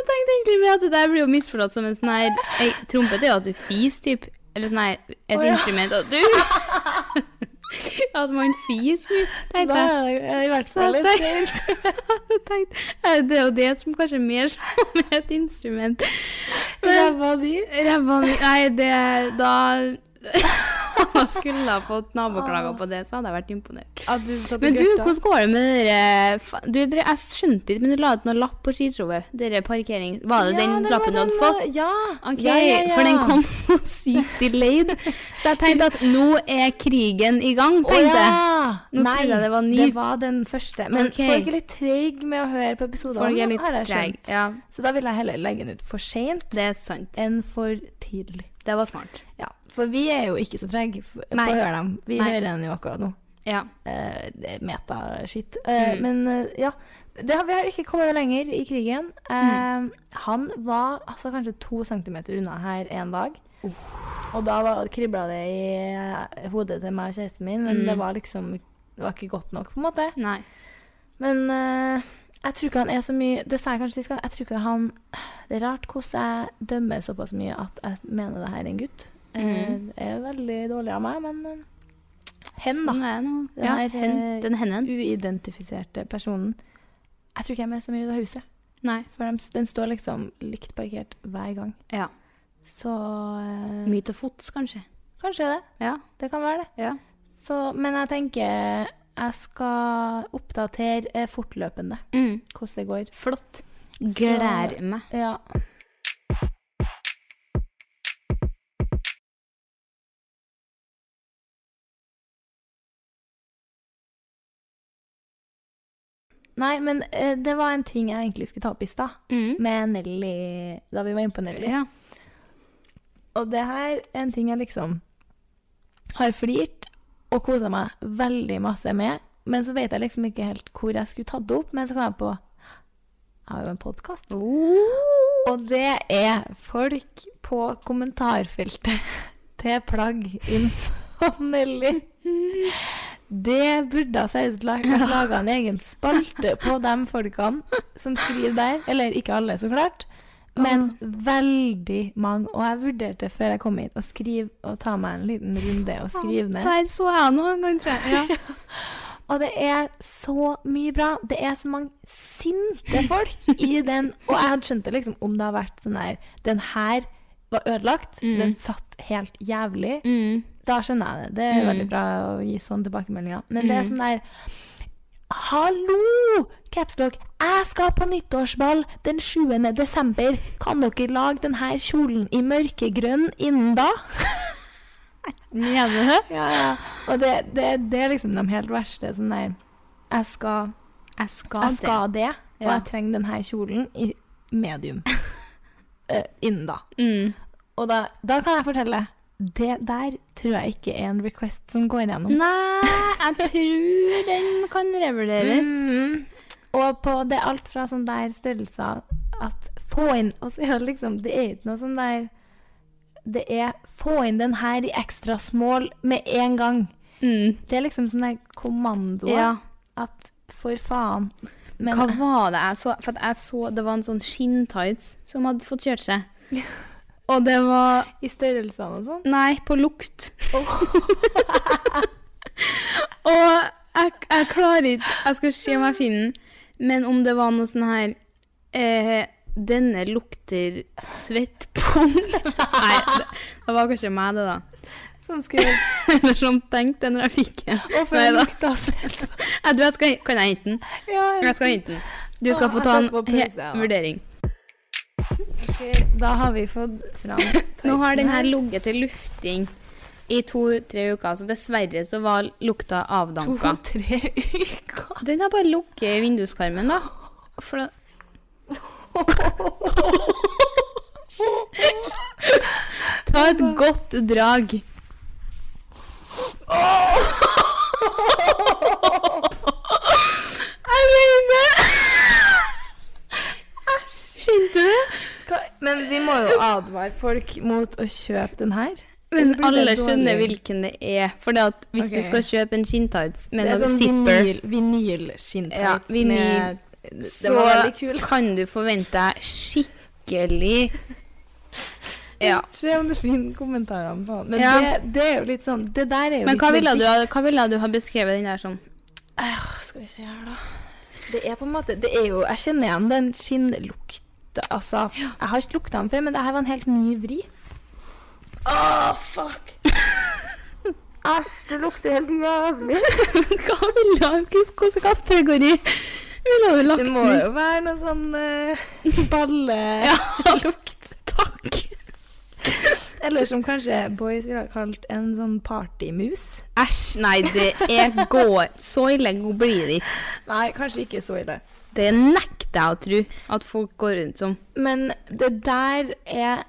Speaker 5: Jeg tenkte egentlig mer at det der blir jo misforstått som en sånn her ei, Trompet er jo at du fis, typ. Eller sånn her Et
Speaker 4: Å, ja.
Speaker 5: instrument at du At man fis mye,
Speaker 4: Da
Speaker 5: tenkte jeg.
Speaker 4: er det i hvert
Speaker 5: Så
Speaker 4: fall
Speaker 5: jeg
Speaker 4: litt
Speaker 5: tenkte, jeg tenkte, eh, det er jo det som kanskje er mer som et instrument. Men
Speaker 4: ræva di.
Speaker 5: ræva mi Nei, det Da da skulle jeg fått naboklager på det, så hadde jeg vært imponert.
Speaker 4: At du satt og
Speaker 5: Men du,
Speaker 4: gørta.
Speaker 5: hvordan går det med dere fa- du, dere- Jeg skjønte ikke, men du la ut noen lapp på skishowet. Dere parkering Var det
Speaker 4: Ja,
Speaker 5: den
Speaker 4: det var
Speaker 5: lappen du hadde
Speaker 4: den,
Speaker 5: fått?
Speaker 4: Ja.
Speaker 5: Ok,
Speaker 4: ja, ja, ja.
Speaker 5: For den kom så sykt delayed. Så jeg tenkte at nå er krigen i gang,
Speaker 4: Å
Speaker 5: tenkte jeg.
Speaker 4: ja!
Speaker 5: Nå trodde jeg det var ny.
Speaker 4: Det var den første. Men
Speaker 5: Ok.
Speaker 4: folk er litt treige med å høre på episoder.
Speaker 5: Folk er litt treige. Ja,
Speaker 4: Så da vil jeg heller legge den ut for seint
Speaker 5: det er sant.
Speaker 4: enn for tidlig.
Speaker 5: Det var smart.
Speaker 4: Ja, For vi er jo ikke så trege f- på å
Speaker 5: Nei.
Speaker 4: høre dem. Vi
Speaker 5: Nei.
Speaker 4: hører den jo akkurat nå.
Speaker 5: Ja.
Speaker 4: Eh, det er Meta-shit. Eh,
Speaker 5: Mm.
Speaker 4: Men eh, ja. Det har, vi har ikke kommet lenger i krigen.
Speaker 5: Mm.
Speaker 4: Eh, Han var altså, kanskje to centimeter unna her en dag.
Speaker 5: Uh.
Speaker 4: Og da var- kribla det i eh, hodet til meg og kjæresten min, men
Speaker 5: Mm.
Speaker 4: det var liksom det var ikke godt nok, på en måte.
Speaker 5: Nei.
Speaker 4: Men eh, jeg tror ikke han er så mye Det sa jeg kanskje sist gang. Jeg tror ikke han Det er rart hvordan jeg dømmer såpass mye at jeg mener det her er en gutt. Eh,
Speaker 5: Mhm.
Speaker 4: Det er veldig dårlig av meg, men eh, hen, da.
Speaker 5: Sånn er det nå.
Speaker 4: Den
Speaker 5: Ja,
Speaker 4: her,
Speaker 5: hen,
Speaker 4: eh,
Speaker 5: den henden.
Speaker 4: uidentifiserte personen. Jeg tror ikke jeg er med så mye ut av huset,
Speaker 5: Nei.
Speaker 4: for dem- den står liksom likt parkert hver gang.
Speaker 5: Ja.
Speaker 4: Så eh,
Speaker 5: Mye til fots, kanskje.
Speaker 4: kanskje det.
Speaker 5: Ja.
Speaker 4: Det kan være det.
Speaker 5: Ja.
Speaker 4: Så, men jeg tenker Jeg skal oppdatere eh, fortløpende
Speaker 5: Mm.
Speaker 4: hvordan det går.
Speaker 5: Flott. Gleder meg.
Speaker 4: Ja. Nei, men eh, det var en ting jeg egentlig skulle ta opp i stad,
Speaker 5: Mm.
Speaker 4: med Nelly Da vi var inne på Nelly.
Speaker 5: Ja.
Speaker 4: Og det her er en ting jeg liksom har flirt og kosa meg veldig masse med. Men så vet jeg liksom ikke helt hvor jeg skulle tatt det opp. Men så kom jeg på Jeg har jo en podkast.
Speaker 5: Oh.
Speaker 4: Og det er folk på kommentarfeltet til plagg innom Nelly. Det burde ha seriøst laga en egen spalte på de folkene som skriver der. Eller ikke alle, så klart. Men veldig mange. Og jeg vurderte før jeg kom hit å skrive og ta meg en liten runde og skrive ned.
Speaker 5: Der så jeg noe en gang, tror jeg. Ja.
Speaker 4: Og det er så mye bra. Det er så mange sinte folk i den. Og jeg hadde skjønt det liksom om det hadde vært sånn der Den her var ødelagt. Den satt helt jævlig.
Speaker 5: Mm.
Speaker 4: Da skjønner jeg det. Det er veldig bra å gi sånne tilbakemeldinger. Men det er sånn der Hallo! Capslock, jeg skal på nyttårsball den 7. desember. Kan dere lage denne kjolen i mørkegrønn innen da?
Speaker 5: Mener du?
Speaker 4: Ja, ja. Og det, det, det er liksom de helt verste. Sånn der Jeg skal
Speaker 5: Jeg skal,
Speaker 4: jeg skal det, og
Speaker 5: Ja.
Speaker 4: jeg trenger denne kjolen i medium. Eh, innen da.
Speaker 5: det. Mm.
Speaker 4: Og da, da kan jeg fortelle. Det der tror jeg ikke er en request som går gjennom.
Speaker 5: Nei, jeg tror den kan revurderes.
Speaker 4: Mm. Og på det er alt fra sånn der størrelser at få inn Og så er det liksom Det er ikke noe sånn der Det er få inn den her i ekstra small med en gang.
Speaker 5: Mm.
Speaker 4: Det er liksom sånn der kommando
Speaker 5: Ja.
Speaker 4: at for faen. Men
Speaker 5: Hva var det jeg så? For at jeg så det var en sånn skinntights som hadde fått kjørt seg. Og det var
Speaker 4: i størrelsene og sånn
Speaker 5: Nei, på lukt. Og jeg, jeg klarer ikke Jeg skal se om jeg finner den. Men om det var noe sånn her eh, Denne lukter svettpung. Nei, det, det var kanskje meg, det, da.
Speaker 4: Som skrev
Speaker 5: Eller som tenkte det når jeg fikk den.
Speaker 4: Og for
Speaker 5: Nei
Speaker 4: en
Speaker 5: da.
Speaker 4: lukt av svett.
Speaker 5: Jeg tror jeg skal, kan jeg hente den?
Speaker 4: Ja,
Speaker 5: Jeg skal hente den. Du skal
Speaker 4: Å,
Speaker 5: få
Speaker 4: jeg
Speaker 5: ta en
Speaker 4: setter på
Speaker 5: he-
Speaker 4: pause, ja.
Speaker 5: vurdering.
Speaker 4: ok, Da har vi fått fram
Speaker 5: Nå har den her
Speaker 4: tightsen
Speaker 5: ligget til lufting i to-tre uker, så dessverre så var lukta avdanka.
Speaker 4: To-tre uker.
Speaker 5: Den har bare ligget i vinduskarmen, da. For da Ta et godt drag. Jeg mener Skjønte du?
Speaker 4: Hva- Men vi må jo advare folk mot å kjøpe den her.
Speaker 5: Men
Speaker 4: Eller blir det
Speaker 5: alle
Speaker 4: dårlig?
Speaker 5: skjønner hvilken det er. For det at hvis
Speaker 4: Ok.
Speaker 5: du skal kjøpe en skinntights med
Speaker 4: Det er
Speaker 5: noe
Speaker 4: sånn
Speaker 5: zipper,
Speaker 4: vinyl, vinylskinntights
Speaker 5: Ja, vinyl.
Speaker 4: med Det
Speaker 5: så
Speaker 4: var veldig kul.
Speaker 5: kan du forvente deg skikkelig Ja.
Speaker 4: Se om du finner kommentarene på den. Men
Speaker 5: Ja.
Speaker 4: det, det er jo litt sånn Det der er jo
Speaker 5: Men
Speaker 4: litt
Speaker 5: hva ville, du,
Speaker 4: legit.
Speaker 5: ha- hva ville du ha beskrevet den der som?
Speaker 4: Eh, Skal vi se her, da. Det er på en måte Det er jo Jeg kjenner igjen den skinnlukta, altså. Jeg har ikke lukta den før, men det her var en helt ny vri. Å, fuck! Æsj, det lukter helt jævlig.
Speaker 5: Hva ville du ha? Hvilken kategori ville du lagt
Speaker 4: Det må jo være noe sånn eh, balle...
Speaker 5: lukt. Takk.
Speaker 4: Eller som kanskje boys ville ha kalt en sånn partymus.
Speaker 5: Æsj, nei, det er går Så ille blir det ikke.
Speaker 4: Nei, kanskje ikke så ille.
Speaker 5: Det nekter jeg å tro at folk går rundt som.
Speaker 4: Men det der er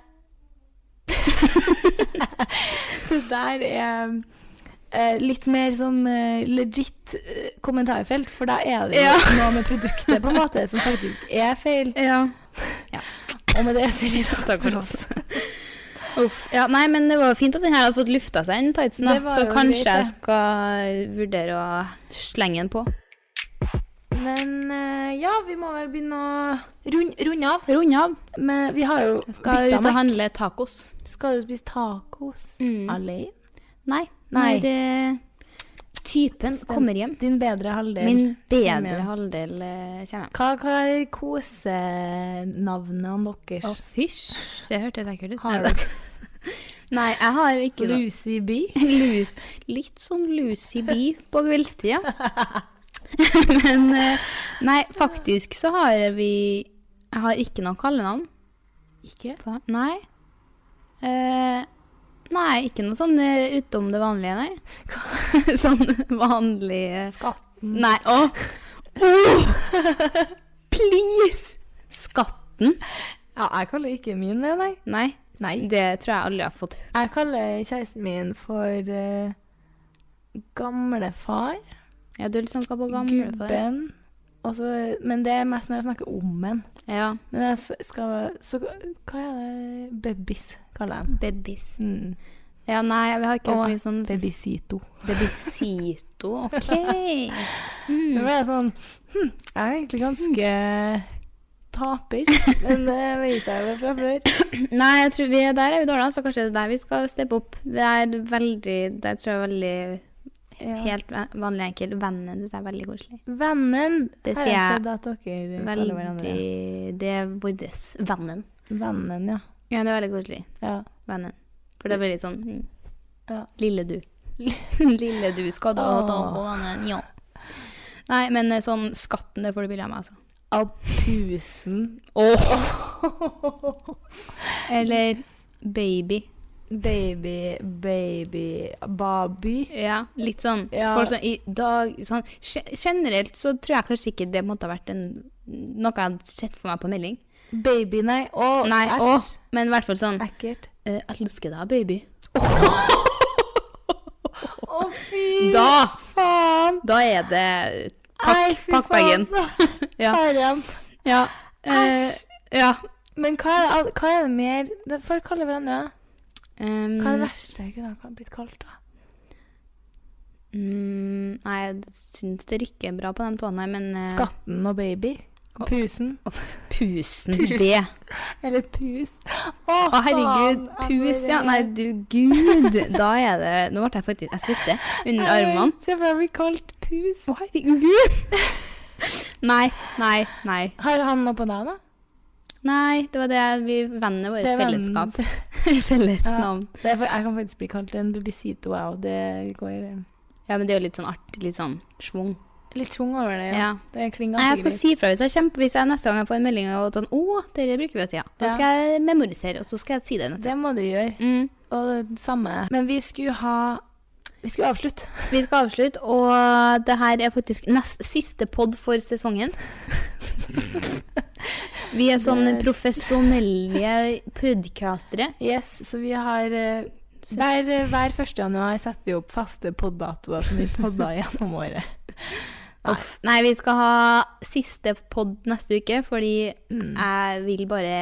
Speaker 4: Det der er eh, litt mer sånn eh, legit eh, kommentarfelt, for da er det jo
Speaker 5: Ja.
Speaker 4: noe med produktet på en måte som faktisk er feil.
Speaker 5: Ja.
Speaker 4: Og med det sier vi takk for oss.
Speaker 5: Uff. Ja, nei, men det var jo fint at den her hadde fått lufta seg, den tightsen.
Speaker 4: Det
Speaker 5: da.
Speaker 4: var
Speaker 5: Så
Speaker 4: jo
Speaker 5: kanskje
Speaker 4: greit,
Speaker 5: jeg
Speaker 4: det.
Speaker 5: skal vurdere å slenge den på.
Speaker 4: Men eh, ja, vi må vel begynne å runde, runde av.
Speaker 5: Runde av.
Speaker 4: Men vi har jo
Speaker 5: Skal ut
Speaker 4: bytta
Speaker 5: og
Speaker 4: meg.
Speaker 5: handle tacos.
Speaker 4: Skal du spise tacos alene?
Speaker 5: Nei.
Speaker 4: Nei.
Speaker 5: Når eh, typen
Speaker 4: Stem-
Speaker 5: kommer hjem.
Speaker 4: Din bedre halvdel.
Speaker 5: Min
Speaker 4: Kommer
Speaker 5: bedre
Speaker 4: hjem.
Speaker 5: halvdel eh, kommer hjem.
Speaker 4: Hva, hva er kosenavnene deres?
Speaker 5: Å, fysj. Det hørtes ekkelt ut.
Speaker 4: Har
Speaker 5: Nei,
Speaker 4: dere?
Speaker 5: Nei, jeg har ikke noe
Speaker 4: Lucy B.
Speaker 5: lus. Litt sånn Lucy Bee på kveldstida. Men eh, nei, faktisk så har vi Jeg har ikke noe kallenavn.
Speaker 4: Ikke?
Speaker 5: på Nei. Eh, nei, ikke noe sånn eh, utom det vanlige, nei. Hva- sånn vanlig eh,
Speaker 4: Skatten.
Speaker 5: Nei, å! Åh! Please! Skatten?
Speaker 4: Ja, jeg kaller ikke min det, nei.
Speaker 5: Nei,
Speaker 4: Nei.
Speaker 5: det tror jeg aldri har fått
Speaker 4: Jeg kaller kjæresten min for eh, gamlefar,
Speaker 5: Ja, du er litt sånn skal på gamle på det.
Speaker 4: gubben. Og så- men det er mest når jeg snakker om en.
Speaker 5: Ja,
Speaker 4: Men jeg s- skal Så hva er det Babies, kaller jeg den.
Speaker 5: babies.
Speaker 4: Mm.
Speaker 5: Ja, nei, vi har ikke så
Speaker 4: Åh,
Speaker 5: mye sånn
Speaker 4: Babysito.
Speaker 5: Babysito, ok.
Speaker 4: Det
Speaker 5: Mm.
Speaker 4: ble jeg sånn hm, Jeg er egentlig ganske taper, men det vet jeg det fra før.
Speaker 5: Nei, jeg tror vi er der er vi dårlige, så kanskje det er der vi skal steppe opp. Det er veldig, det tror jeg er veldig
Speaker 4: Ja.
Speaker 5: helt ve- vanlig enkelt. Vennen synes jeg er veldig koselig.
Speaker 4: Vennen.
Speaker 5: Det
Speaker 4: Her
Speaker 5: sier
Speaker 4: har det skjedd
Speaker 5: jeg
Speaker 4: at dere kaller hverandre
Speaker 5: Veldig, det er vår vennen.
Speaker 4: Vennen, ja.
Speaker 5: Ja, det er veldig koselig.
Speaker 4: ja.
Speaker 5: vennen. For det blir litt sånn mm.
Speaker 4: Ja.
Speaker 5: Lille du. Lille du, skal du ha
Speaker 4: Åh.
Speaker 5: tak og vennen? Ja. Nei, men eh, sånn skatten, det får du bilde av meg, altså.
Speaker 4: Abusen.
Speaker 5: Eller baby.
Speaker 4: Baby, baby, baby.
Speaker 5: Ja, litt sånn.
Speaker 4: Ja.
Speaker 5: Folk sånn i dag sånn, ge- Generelt så tror jeg kanskje ikke det måtte ha vært en, noe jeg hadde sett for meg på melding.
Speaker 4: Baby, nei. Å,
Speaker 5: Nei,
Speaker 4: æsj.
Speaker 5: åh, men i hvert fall sånn
Speaker 4: Ekkelt.
Speaker 5: eh, Jeg elsker deg, baby.
Speaker 4: Å, fy
Speaker 5: Da,
Speaker 4: faen.
Speaker 5: da er det
Speaker 4: Nei,
Speaker 5: pakk,
Speaker 4: fy
Speaker 5: pakk bagen.
Speaker 4: faen, så.
Speaker 5: Ja.
Speaker 4: Faen.
Speaker 5: Ja. eh,
Speaker 4: Æsj.
Speaker 5: ja.
Speaker 4: Men hva er, det, hva er det mer det- folk kaller hverandre? da?
Speaker 5: Um,
Speaker 4: Hva er det verste jeg kunne ha blitt kalt, da?
Speaker 5: Mm, nei, jeg syns det rykker bra på de tåene, men eh,
Speaker 4: Skatten og baby.
Speaker 5: Og-
Speaker 4: Pusen.
Speaker 5: Pusen, det.
Speaker 4: Eller pus. altså,
Speaker 5: Å, herregud. Pus, ja. Nei, du gud. Da er det Nå ble jeg faktisk Jeg svetter under armene.
Speaker 4: Se for deg å bli kalt pus.
Speaker 5: Å, herregud. Nei, nei, nei.
Speaker 4: Har han noe på deg, da?
Speaker 5: Nei, det var det vi Vennene
Speaker 4: Det
Speaker 5: våre.
Speaker 4: er vennen.
Speaker 5: Fellesskap. Felles
Speaker 4: Ja.
Speaker 5: navn.
Speaker 4: Det er for, jeg kan faktisk bli kalt en bubisito, jeg òg. Det går eh,
Speaker 5: Ja, men det er jo litt sånn artig. Litt sånn schwung.
Speaker 4: litt schwung over det. Ja.
Speaker 5: Ja.
Speaker 4: Det klinger
Speaker 5: Nei, jeg
Speaker 4: ganske
Speaker 5: skal si fra hvis jeg, kjemper, hvis jeg neste gang jeg får en melding og sånn Å, dere bruker vi jo tida. Da
Speaker 4: Ja.
Speaker 5: skal jeg memorisere, og så skal jeg si det.
Speaker 4: greit. Det må du gjøre.
Speaker 5: Mm.
Speaker 4: Og det samme. Men vi skulle ha Vi skulle avslutte.
Speaker 5: Vi skal avslutte, og det her er faktisk nest siste pod for sesongen. Vi er sånne
Speaker 4: Det-
Speaker 5: profesjonelle podcastere.
Speaker 4: Yes, så vi har eh, hver, hver 1. januar setter vi opp faste poddatoer som vi podder gjennom året.
Speaker 5: Uff. Nei, vi skal ha siste pod neste uke, fordi jeg vil bare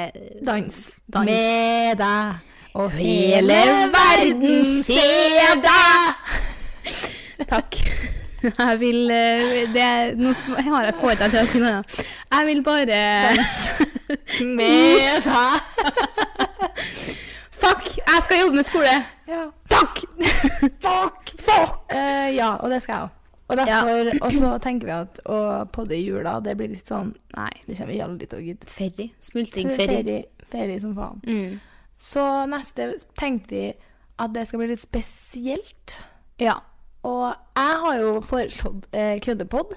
Speaker 4: Dans.
Speaker 5: Dans.
Speaker 4: Med deg. Og
Speaker 5: Hele verden se deg! Takk. Jeg vil eh, det, Nå har jeg fått deg til å si noe annet. Jeg vil bare
Speaker 4: Med deg.
Speaker 5: Fuck! Jeg skal jobbe med skole.
Speaker 4: Ja.
Speaker 5: Takk!
Speaker 4: Fuck! Fuck! Eh, ja, og det skal jeg òg. Og derfor, og så tenker vi at å podde i jula, det blir litt sånn
Speaker 5: Nei.
Speaker 4: Det kommer vi aldri til å gidde.
Speaker 5: Ferry. Smultringferry.
Speaker 4: Ferie, ferie som faen.
Speaker 5: Mm.
Speaker 4: Så neste tenkte vi at det skal bli litt spesielt.
Speaker 5: Ja.
Speaker 4: Og jeg har jo foreslått eh, køddepod.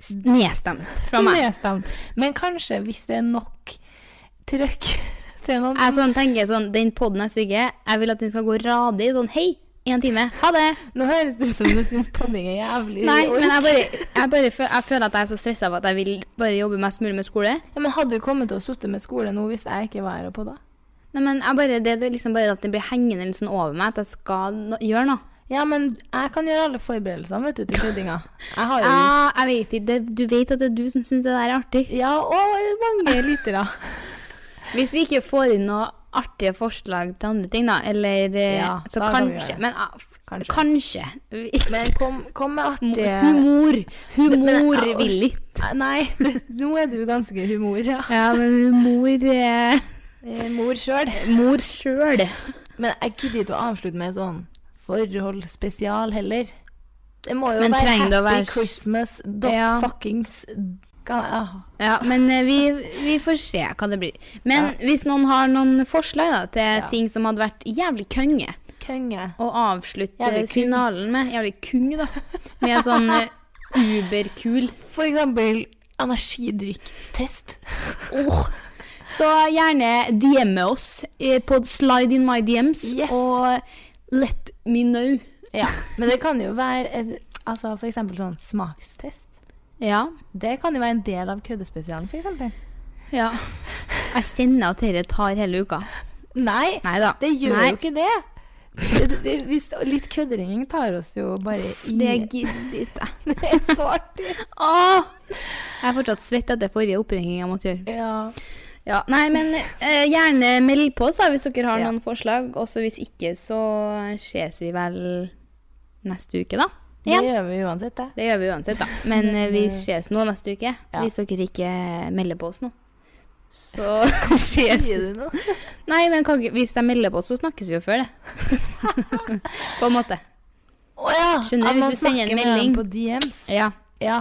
Speaker 5: S- Nedstemt fra meg.
Speaker 4: Nedstemt. Men kanskje, hvis det er nok trøkk til noen
Speaker 5: Jeg sånn tenker sånn, Den podden neste uke, jeg vil at den skal gå radig. Sånn hei, én time, ha det.
Speaker 4: Nå høres det ut som du syns podding er jævlig
Speaker 5: Nei,
Speaker 4: ork.
Speaker 5: men jeg bare, jeg bare føl, jeg føler at jeg er så stressa av at jeg vil bare jobbe mest mulig med skole.
Speaker 4: ja, Men hadde du kommet til å sitte med skole nå hvis jeg ikke var her og podda?
Speaker 5: Nei, men jeg bare, det, det er liksom bare at det blir hengende litt sånn over meg, at jeg skal no gjøre noe.
Speaker 4: Ja, men jeg kan gjøre alle forberedelsene, vet du, til køddinga. Jeg har jo
Speaker 5: Ja, jeg vet ikke, det, Du vet at det er du som syns det der er artig.
Speaker 4: Ja, og mange lyttere.
Speaker 5: Hvis vi ikke får inn noe artige forslag til andre ting, da, eller eh,
Speaker 4: Ja,
Speaker 5: Så
Speaker 4: da kan vi gjøre
Speaker 5: kanskje
Speaker 4: det.
Speaker 5: Men ah, f-
Speaker 4: Kanskje.
Speaker 5: kanskje.
Speaker 4: Men kom, kom med artige
Speaker 5: Humor.
Speaker 4: Humorvillig. Nei, nå er du ganske humor, ja.
Speaker 5: Ja, men humor eh,
Speaker 4: Eh, Mor sjøl.
Speaker 5: Mor sjøl.
Speaker 4: Men jeg gidder ikke å avslutte med sånn forholdsspesial heller. Det må jo
Speaker 5: Men
Speaker 4: være
Speaker 5: trenger det å
Speaker 4: Happy
Speaker 5: være-
Speaker 4: Christmas dot
Speaker 5: Ja.
Speaker 4: fuckings ah, Kan jeg, aha.
Speaker 5: Ja, men eh, vi, vi får se hva det blir. Men hvis noen har noen forslag da, til
Speaker 4: Ja.
Speaker 5: ting som hadde vært jævlig kønge
Speaker 4: Konge.
Speaker 5: å avslutte
Speaker 4: Jævlig kung.
Speaker 5: finalen med Jævlig kung, da. Med en sånn eh, uberkul
Speaker 4: For eksempel energidrikktest.
Speaker 5: Åh. Så gjerne DM-e oss eh, på slide in my DMs
Speaker 4: Yes.
Speaker 5: og let me know.
Speaker 4: Ja. Men det kan jo være et, altså for eksempel sånn smakstest.
Speaker 5: Ja.
Speaker 4: Det kan jo være en del av køddespesialen, for eksempel.
Speaker 5: ja. Jeg kjenner at dette tar hele uka.
Speaker 4: Nei,
Speaker 5: Nei da.
Speaker 4: det gjør jo ikke det. Det- det- Hvis, litt køddering tar oss jo bare i
Speaker 5: Det gidder ikke jeg.
Speaker 4: Det er så artig.
Speaker 5: Åh! Jeg er fortsatt svett etter forrige oppringning jeg måtte gjøre.
Speaker 4: Ja.
Speaker 5: Ja, nei, men eh, gjerne meld på oss da, hvis dere har
Speaker 4: Ja.
Speaker 5: noen forslag. Også hvis ikke, så ses vi vel neste uke, da.
Speaker 4: Det
Speaker 5: Igjen.
Speaker 4: gjør vi uansett, det.
Speaker 5: Det gjør vi uansett, da. Men eh, vi ses nå neste uke.
Speaker 4: Ja.
Speaker 5: Hvis dere ikke melder på oss nå. Så ses
Speaker 4: Sier du noe?
Speaker 5: Nei, men kan, ikke- hvis de melder på oss, så snakkes vi jo før det. på en måte.
Speaker 4: Å ja.
Speaker 5: Skjønner,
Speaker 4: at
Speaker 5: hvis
Speaker 4: man
Speaker 5: du sender en
Speaker 4: snakker med dem
Speaker 5: melding.
Speaker 4: På DMs.
Speaker 5: Ja.
Speaker 4: Ja.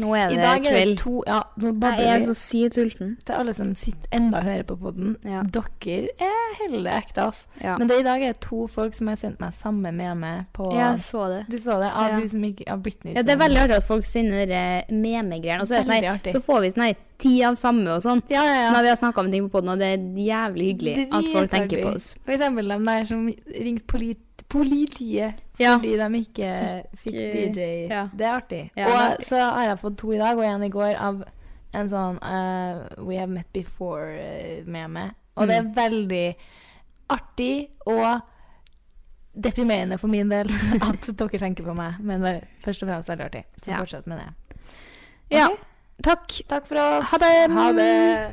Speaker 5: Nå er
Speaker 4: I
Speaker 5: det
Speaker 4: dag er det
Speaker 5: kveld.
Speaker 4: to Ja, nå
Speaker 5: Jeg er
Speaker 4: babler
Speaker 5: så
Speaker 4: vi.
Speaker 5: sykt sulten.
Speaker 4: Til alle som sitter enda og hører på podden
Speaker 5: Ja.
Speaker 4: Dere er heldige ekte, ass.
Speaker 5: Ja.
Speaker 4: Men det, i dag er det to folk som har sendt meg samme meme på
Speaker 5: Jeg så det.
Speaker 4: Du så det? Av
Speaker 5: Ja.
Speaker 4: hun som ikke Av Britney.
Speaker 5: Ja, det er
Speaker 4: som-
Speaker 5: veldig artig at folk sender eh, meme-greier. Og så, er det sånn
Speaker 4: Veldig
Speaker 5: her-
Speaker 4: artig.
Speaker 5: så får vi sånn her ti av samme og sånn.
Speaker 4: Ja, ja, ja.
Speaker 5: Når vi har snakka om ting på poden, og det er jævlig hyggelig at folk tenker
Speaker 4: Dritartig.
Speaker 5: på oss.
Speaker 4: For eksempel de der som ringte polit politiet
Speaker 5: Ja.
Speaker 4: fordi de ikke fikk
Speaker 5: Fikk,
Speaker 4: DJ.
Speaker 5: ja.
Speaker 4: Det er artig.
Speaker 5: Ja, det er
Speaker 4: og
Speaker 5: artig.
Speaker 4: så har jeg fått to i dag, og en i går, av en sånn eh, We have met before-meme. Og det
Speaker 5: Mm.
Speaker 4: er veldig artig og deprimerende for min del at dere tenker på meg, men bare, først og fremst veldig artig. Så
Speaker 5: Ja.
Speaker 4: fortsett med det.
Speaker 5: Ja.
Speaker 4: Ok.
Speaker 5: Takk.
Speaker 4: Takk for oss.
Speaker 5: Ha det.
Speaker 4: Ha det.